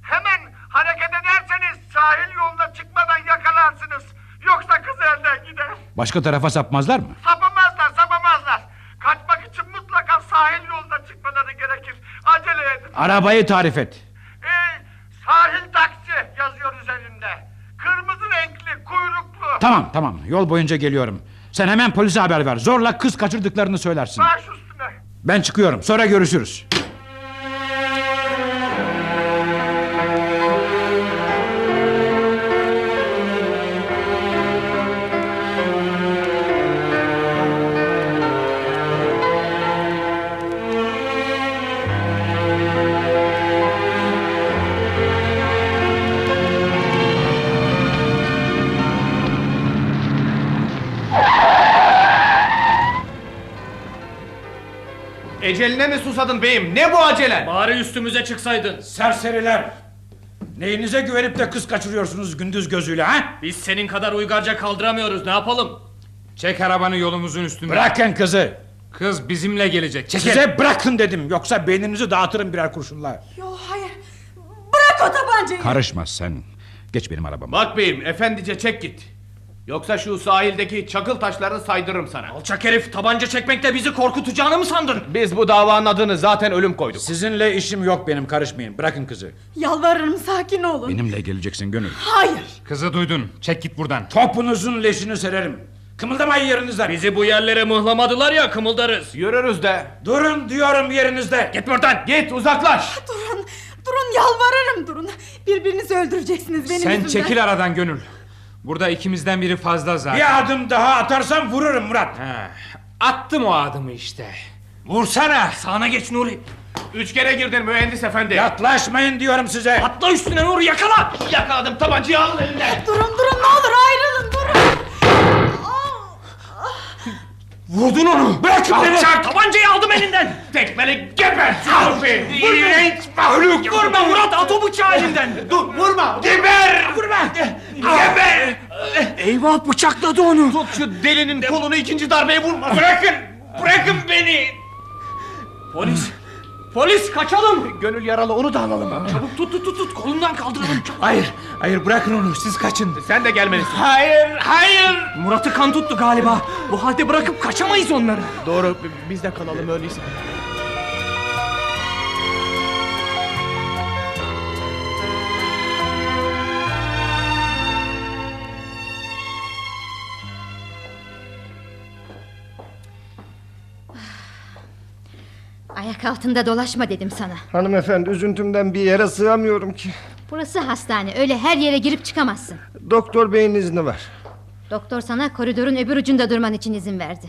[SPEAKER 13] Hemen hareket ederseniz sahil yoluna çıkmadan yakalansınız. Yoksa kız elden gider.
[SPEAKER 3] Başka tarafa sapmazlar mı?
[SPEAKER 13] Sapamazlar sapamazlar. Kaçmak için mutlaka sahil yoluna çıkmaları gerekir. Acele edin.
[SPEAKER 3] Arabayı tarif et.
[SPEAKER 13] Ee, sahil taksi yazıyor üzerinde. Kırmızı renkli, kuyruklu.
[SPEAKER 3] Tamam tamam yol boyunca geliyorum. Sen hemen polise haber ver. Zorla kız kaçırdıklarını söylersin.
[SPEAKER 13] Baş üstüne.
[SPEAKER 3] Ben çıkıyorum sonra görüşürüz.
[SPEAKER 7] Eceline mi susadın beyim? Ne bu acele?
[SPEAKER 16] Bari üstümüze çıksaydın.
[SPEAKER 3] Serseriler. Neyinize güvenip de kız kaçırıyorsunuz gündüz gözüyle ha?
[SPEAKER 16] Biz senin kadar uygarca kaldıramıyoruz. Ne yapalım?
[SPEAKER 4] Çek arabanı yolumuzun üstüne.
[SPEAKER 3] Bırakın kızı.
[SPEAKER 4] Kız bizimle gelecek.
[SPEAKER 3] Size bırakın dedim. Yoksa beyninizi dağıtırım birer kurşunla.
[SPEAKER 17] Yok hayır. Bırak o tabancayı.
[SPEAKER 3] Karışma sen. Geç benim arabama.
[SPEAKER 7] Bak beyim efendice çek git. Yoksa şu sahildeki çakıl taşlarını saydırırım sana.
[SPEAKER 16] Alçak herif tabanca çekmekle bizi korkutacağını mı sandın?
[SPEAKER 7] Biz bu davanın adını zaten ölüm koyduk.
[SPEAKER 3] Sizinle işim yok benim karışmayın. Bırakın kızı.
[SPEAKER 17] Yalvarırım sakin olun.
[SPEAKER 3] Benimle geleceksin gönül.
[SPEAKER 17] Hayır.
[SPEAKER 4] Kızı duydun. Çek git buradan.
[SPEAKER 3] Topunuzun leşini sererim. Kımıldamayın yerinizden.
[SPEAKER 16] Bizi bu yerlere mıhlamadılar ya kımıldarız.
[SPEAKER 7] Yürürüz de.
[SPEAKER 3] Durun diyorum yerinizde.
[SPEAKER 16] Git buradan.
[SPEAKER 7] Git uzaklaş.
[SPEAKER 17] Durun. Durun yalvarırım durun. Birbirinizi öldüreceksiniz benim
[SPEAKER 4] Sen
[SPEAKER 17] yüzümden.
[SPEAKER 4] çekil aradan gönül. Burada ikimizden biri fazla zaten.
[SPEAKER 3] Bir adım daha atarsam vururum Murat.
[SPEAKER 4] Attım o adımı işte.
[SPEAKER 3] Vursana.
[SPEAKER 16] Sağına geç Nuri.
[SPEAKER 7] Üç kere girdin mühendis efendi.
[SPEAKER 3] Yaklaşmayın diyorum size.
[SPEAKER 16] Atla üstüne Nuri yakala.
[SPEAKER 7] Yakaladım tabancayı alın elinden.
[SPEAKER 17] Eh, Durun durun ne olur ayrılın durun.
[SPEAKER 3] Vurdun onu. Bırakın beni.
[SPEAKER 16] Alçak tabancayı aldım elinden.
[SPEAKER 7] Tekmeli geber. Al beni. Vur beni.
[SPEAKER 3] mahluk.
[SPEAKER 16] Vurma Murat at o bıçağı elinden.
[SPEAKER 7] Dur vurma.
[SPEAKER 3] Geber.
[SPEAKER 16] Vurma.
[SPEAKER 7] Geber.
[SPEAKER 16] Eyvah bıçakladı onu.
[SPEAKER 7] Tut şu delinin kolunu ikinci darbeye vurma.
[SPEAKER 16] Bırakın. Bırakın beni. Polis. Polis kaçalım.
[SPEAKER 7] Gönül yaralı onu da alalım.
[SPEAKER 16] Çabuk tut tut tut tut kolundan kaldıralım. Çabuk.
[SPEAKER 3] Hayır. Hayır bırakın onu. Siz kaçın.
[SPEAKER 7] Sen de gelmelisin.
[SPEAKER 16] Hayır, hayır. Murat'ı kan tuttu galiba. Bu halde bırakıp kaçamayız onları.
[SPEAKER 7] Doğru biz de kalalım öyleyse.
[SPEAKER 10] Ayak altında dolaşma dedim sana.
[SPEAKER 6] Hanımefendi üzüntümden bir yere sığamıyorum ki.
[SPEAKER 10] Burası hastane. Öyle her yere girip çıkamazsın.
[SPEAKER 6] Doktor beyin izni var.
[SPEAKER 10] Doktor sana koridorun öbür ucunda durman için izin verdi.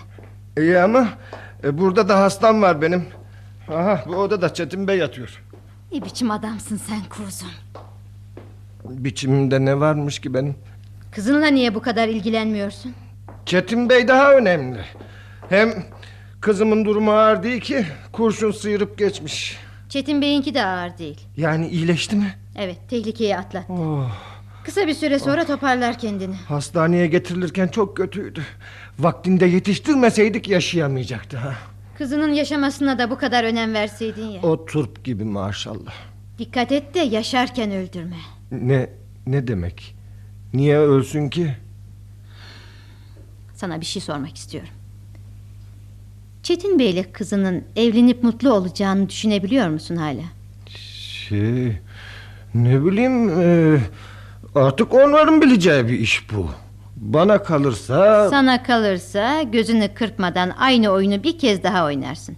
[SPEAKER 6] İyi ama e, burada da hastam var benim. Aha bu odada Çetin Bey yatıyor.
[SPEAKER 10] Ne biçim adamsın sen kuzum.
[SPEAKER 6] Biçimimde ne varmış ki benim?
[SPEAKER 10] Kızınla niye bu kadar ilgilenmiyorsun?
[SPEAKER 6] Çetin Bey daha önemli. Hem kızımın durumu ağır değil ki kurşun sıyırıp geçmiş.
[SPEAKER 10] Çetin Bey'inki de ağır değil.
[SPEAKER 6] Yani iyileşti mi?
[SPEAKER 10] Evet tehlikeyi atlattı.
[SPEAKER 6] Oh,
[SPEAKER 10] Kısa bir süre sonra toparlar kendini.
[SPEAKER 6] hastaneye getirilirken çok kötüydü. Vaktinde yetiştirmeseydik yaşayamayacaktı. Ha.
[SPEAKER 10] Kızının yaşamasına da bu kadar önem verseydin ya.
[SPEAKER 6] O turp gibi maşallah.
[SPEAKER 10] Dikkat et de yaşarken öldürme.
[SPEAKER 6] Ne ne demek? Niye ölsün ki?
[SPEAKER 10] Sana bir şey sormak istiyorum. Çetin Bey'le kızının evlenip mutlu olacağını düşünebiliyor musun hala?
[SPEAKER 6] Şey, ne bileyim e, artık onların bileceği bir iş bu. Bana kalırsa
[SPEAKER 10] Sana kalırsa gözünü kırpmadan aynı oyunu bir kez daha oynarsın.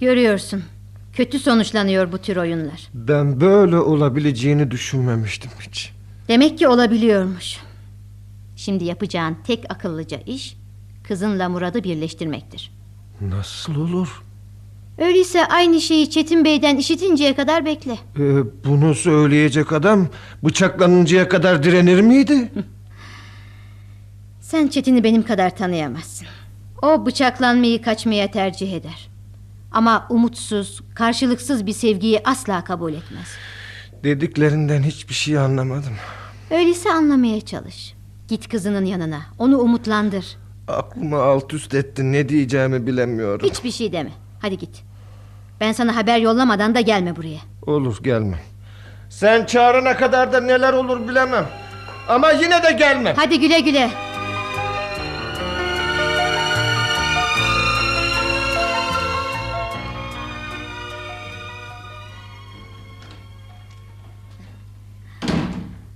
[SPEAKER 10] Görüyorsun. Kötü sonuçlanıyor bu tür oyunlar.
[SPEAKER 6] ben böyle olabileceğini düşünmemiştim hiç.
[SPEAKER 10] Demek ki olabiliyormuş. Şimdi yapacağın tek akıllıca iş kızınla Murad'ı birleştirmektir.
[SPEAKER 6] Nasıl olur?
[SPEAKER 10] Öyleyse aynı şeyi Çetin Bey'den işitinceye kadar bekle.
[SPEAKER 6] E, bunu söyleyecek adam bıçaklanıncaya kadar direnir miydi?
[SPEAKER 10] Sen Çetin'i benim kadar tanıyamazsın. O bıçaklanmayı kaçmaya tercih eder. Ama umutsuz, karşılıksız bir sevgiyi asla kabul etmez.
[SPEAKER 6] Dediklerinden hiçbir şey anlamadım.
[SPEAKER 10] Öyleyse anlamaya çalış. Git kızının yanına, onu umutlandır.
[SPEAKER 6] Aklımı alt üst etti ne diyeceğimi bilemiyorum.
[SPEAKER 10] Hiçbir şey deme. Hadi git. Ben sana haber yollamadan da gelme buraya.
[SPEAKER 6] Olur gelmem. Sen çağırana kadar da neler olur bilemem. Ama yine de gelmem.
[SPEAKER 10] Hadi güle güle.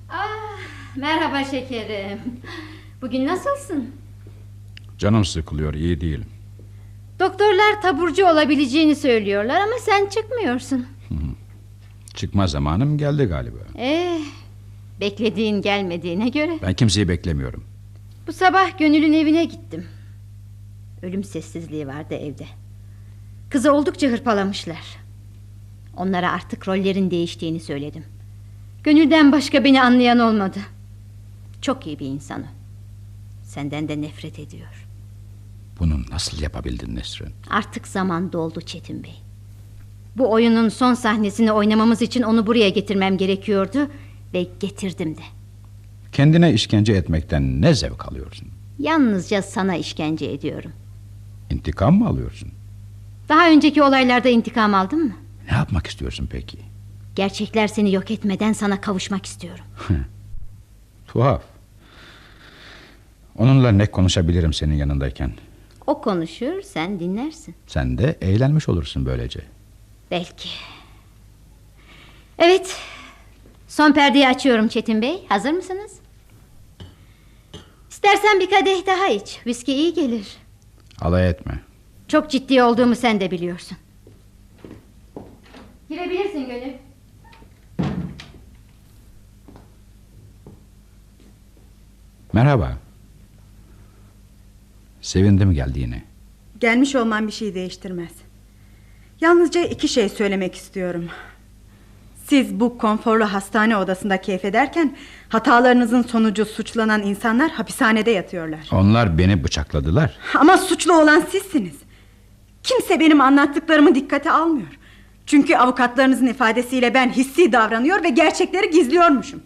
[SPEAKER 10] Ah, Merhaba şekerim. Bugün nasılsın?
[SPEAKER 3] Canım sıkılıyor. iyi değil.
[SPEAKER 10] Doktorlar taburcu olabileceğini söylüyorlar ama sen çıkmıyorsun.
[SPEAKER 3] Çıkma zamanım geldi galiba.
[SPEAKER 10] Eh, beklediğin gelmediğine göre.
[SPEAKER 3] Ben kimseyi beklemiyorum.
[SPEAKER 10] Bu sabah Gönül'ün evine gittim. Ölüm sessizliği vardı evde. Kızı oldukça hırpalamışlar. Onlara artık rollerin değiştiğini söyledim. Gönül'den başka beni anlayan olmadı. Çok iyi bir insan o. Senden de nefret ediyor.
[SPEAKER 3] Bunu nasıl yapabildin Nesrin?
[SPEAKER 10] Artık zaman doldu Çetin Bey. Bu oyunun son sahnesini oynamamız için onu buraya getirmem gerekiyordu ve getirdim de.
[SPEAKER 3] Kendine işkence etmekten ne zevk alıyorsun?
[SPEAKER 10] Yalnızca sana işkence ediyorum.
[SPEAKER 3] İntikam mı alıyorsun?
[SPEAKER 10] Daha önceki olaylarda intikam aldın mı?
[SPEAKER 3] Ne yapmak istiyorsun peki?
[SPEAKER 10] Gerçekler seni yok etmeden sana kavuşmak istiyorum.
[SPEAKER 3] Tuhaf. Onunla ne konuşabilirim senin yanındayken?
[SPEAKER 10] O konuşur, sen dinlersin.
[SPEAKER 3] Sen de eğlenmiş olursun böylece.
[SPEAKER 10] Belki. Evet. Son perdeyi açıyorum Çetin Bey. Hazır mısınız? İstersen bir kadeh daha iç. Viski iyi gelir.
[SPEAKER 3] Alay etme.
[SPEAKER 10] Çok ciddi olduğumu sen de biliyorsun. Girebilirsin Gönül.
[SPEAKER 3] Merhaba. Sevindim geldiğine.
[SPEAKER 17] Gelmiş olman bir şey değiştirmez. Yalnızca iki şey söylemek istiyorum. Siz bu konforlu hastane odasında keyif ederken hatalarınızın sonucu suçlanan insanlar hapishanede yatıyorlar.
[SPEAKER 3] Onlar beni bıçakladılar.
[SPEAKER 17] Ama suçlu olan sizsiniz. Kimse benim anlattıklarımı dikkate almıyor. Çünkü avukatlarınızın ifadesiyle ben hissi davranıyor ve gerçekleri gizliyormuşum.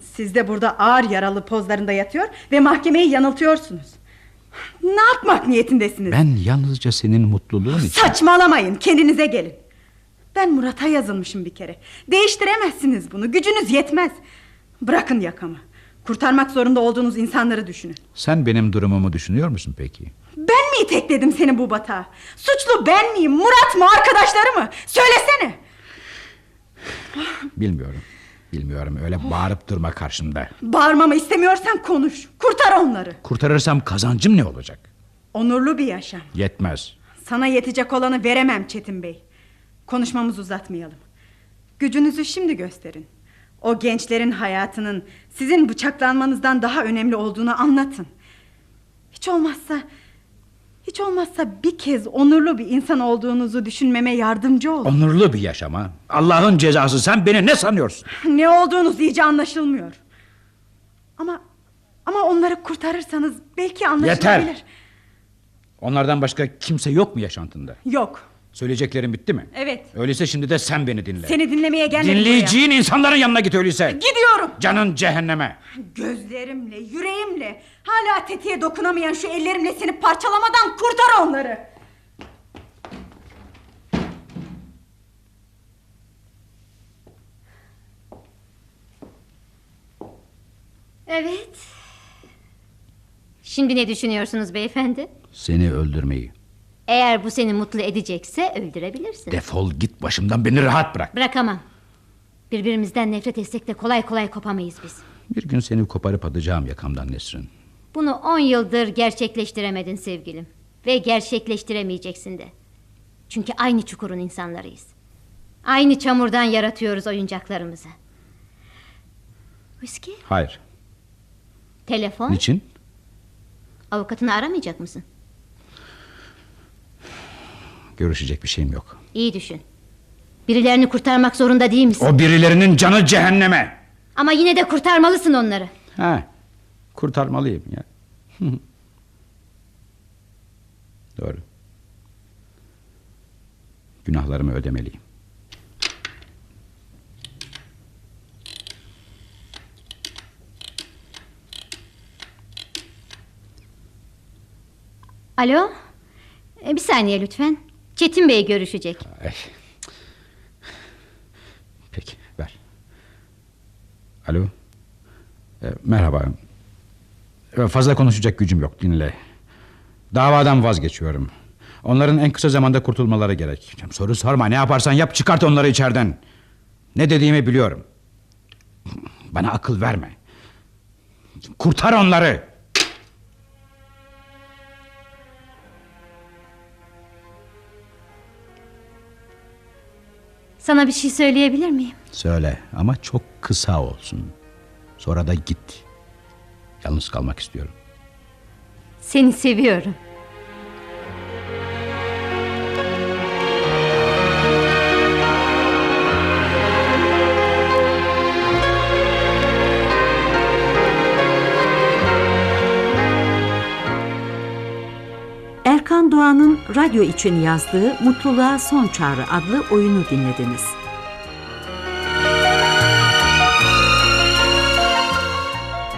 [SPEAKER 17] Siz de burada ağır yaralı pozlarında yatıyor ve mahkemeyi yanıltıyorsunuz. Ne yapmak niyetindesiniz?
[SPEAKER 3] Ben yalnızca senin mutluluğun için...
[SPEAKER 17] Saçmalamayın kendinize gelin Ben Murat'a yazılmışım bir kere Değiştiremezsiniz bunu gücünüz yetmez Bırakın yakamı Kurtarmak zorunda olduğunuz insanları düşünün
[SPEAKER 3] Sen benim durumumu düşünüyor musun peki?
[SPEAKER 17] Ben mi itekledim seni bu batağa Suçlu ben miyim Murat mı arkadaşları mı Söylesene
[SPEAKER 3] Bilmiyorum. Bilmiyorum öyle bağırıp durma karşımda.
[SPEAKER 17] Bağırmamı istemiyorsan konuş Kurtar onları
[SPEAKER 3] Kurtarırsam kazancım ne olacak?
[SPEAKER 17] Onurlu bir yaşam
[SPEAKER 3] Yetmez.
[SPEAKER 17] Sana yetecek olanı veremem Çetin Bey. Konuşmamızı uzatmayalım. Gücünüzü şimdi gösterin. O gençlerin hayatının sizin bıçaklanmanızdan daha önemli olduğunu anlatın. Hiç olmazsa hiç olmazsa bir kez onurlu bir insan olduğunuzu düşünmeme yardımcı olun.
[SPEAKER 3] Onurlu bir yaşama. Allah'ın cezası sen beni ne sanıyorsun?
[SPEAKER 17] Ne olduğunuz iyice anlaşılmıyor. Ama ama onları kurtarırsanız belki anlaşılabilir.
[SPEAKER 3] Yeter. Onlardan başka kimse yok mu yaşantında?
[SPEAKER 17] Yok.
[SPEAKER 3] Söyleyeceklerim bitti mi?
[SPEAKER 17] Evet.
[SPEAKER 3] Öyleyse şimdi de sen beni dinle.
[SPEAKER 17] Seni dinlemeye gelmedim buraya.
[SPEAKER 3] Dinleyeceğin insanların yanına git öyleyse.
[SPEAKER 17] Gidiyorum.
[SPEAKER 3] Canın cehenneme.
[SPEAKER 17] Gözlerimle, yüreğimle, hala tetiğe dokunamayan şu ellerimle seni parçalamadan kurtar onları.
[SPEAKER 10] Evet. Şimdi ne düşünüyorsunuz beyefendi?
[SPEAKER 3] Seni öldürmeyi.
[SPEAKER 10] Eğer bu seni mutlu edecekse öldürebilirsin.
[SPEAKER 3] Defol git başımdan beni rahat bırak.
[SPEAKER 10] Bırakamam. Birbirimizden nefret etsek de kolay kolay kopamayız biz.
[SPEAKER 3] Bir gün seni koparıp atacağım yakamdan Nesrin.
[SPEAKER 10] Bunu on yıldır gerçekleştiremedin sevgilim. Ve gerçekleştiremeyeceksin de. Çünkü aynı çukurun insanlarıyız. Aynı çamurdan yaratıyoruz oyuncaklarımızı. Whiskey,
[SPEAKER 3] Hayır.
[SPEAKER 10] telefon.
[SPEAKER 3] Niçin?
[SPEAKER 10] Avukatını aramayacak mısın?
[SPEAKER 3] Görüşecek bir şeyim yok.
[SPEAKER 10] İyi düşün. Birilerini kurtarmak zorunda değil misin?
[SPEAKER 3] O birilerinin canı cehenneme.
[SPEAKER 10] Ama yine de kurtarmalısın onları.
[SPEAKER 3] Ha, kurtarmalıyım ya. Doğru. Günahlarımı ödemeliyim.
[SPEAKER 10] Alo? E, Bir saniye lütfen. Çetin Bey görüşecek.
[SPEAKER 3] Ay. Peki ver. Alo. E, merhaba. E, fazla konuşacak gücüm yok dinle. Davadan vazgeçiyorum. Onların en kısa zamanda kurtulmaları gerek. Soru sorma ne yaparsan yap çıkart onları içeriden. Ne dediğimi biliyorum. Bana akıl verme. Kurtar onları.
[SPEAKER 10] Sana bir şey söyleyebilir miyim?
[SPEAKER 3] Söyle ama çok kısa olsun. Sonra da git. Yalnız kalmak istiyorum.
[SPEAKER 10] Seni seviyorum.
[SPEAKER 2] Doğan'ın radyo için yazdığı Mutluluğa Son Çağrı adlı oyunu dinlediniz.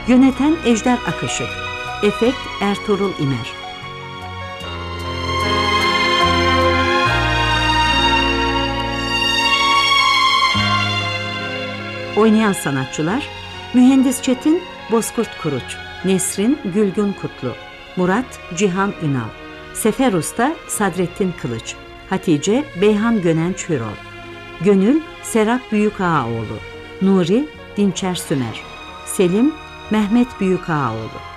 [SPEAKER 2] Yöneten Ejder Akışık Efekt Ertuğrul İmer Oynayan sanatçılar Mühendis Çetin Bozkurt Kuruç Nesrin Gülgün Kutlu Murat Cihan Ünal Sefer Usta Sadrettin Kılıç Hatice Beyhan Gönenç Hürol Gönül Serap Büyükağaoğlu Nuri Dinçer Sümer Selim Mehmet Büyükağaoğlu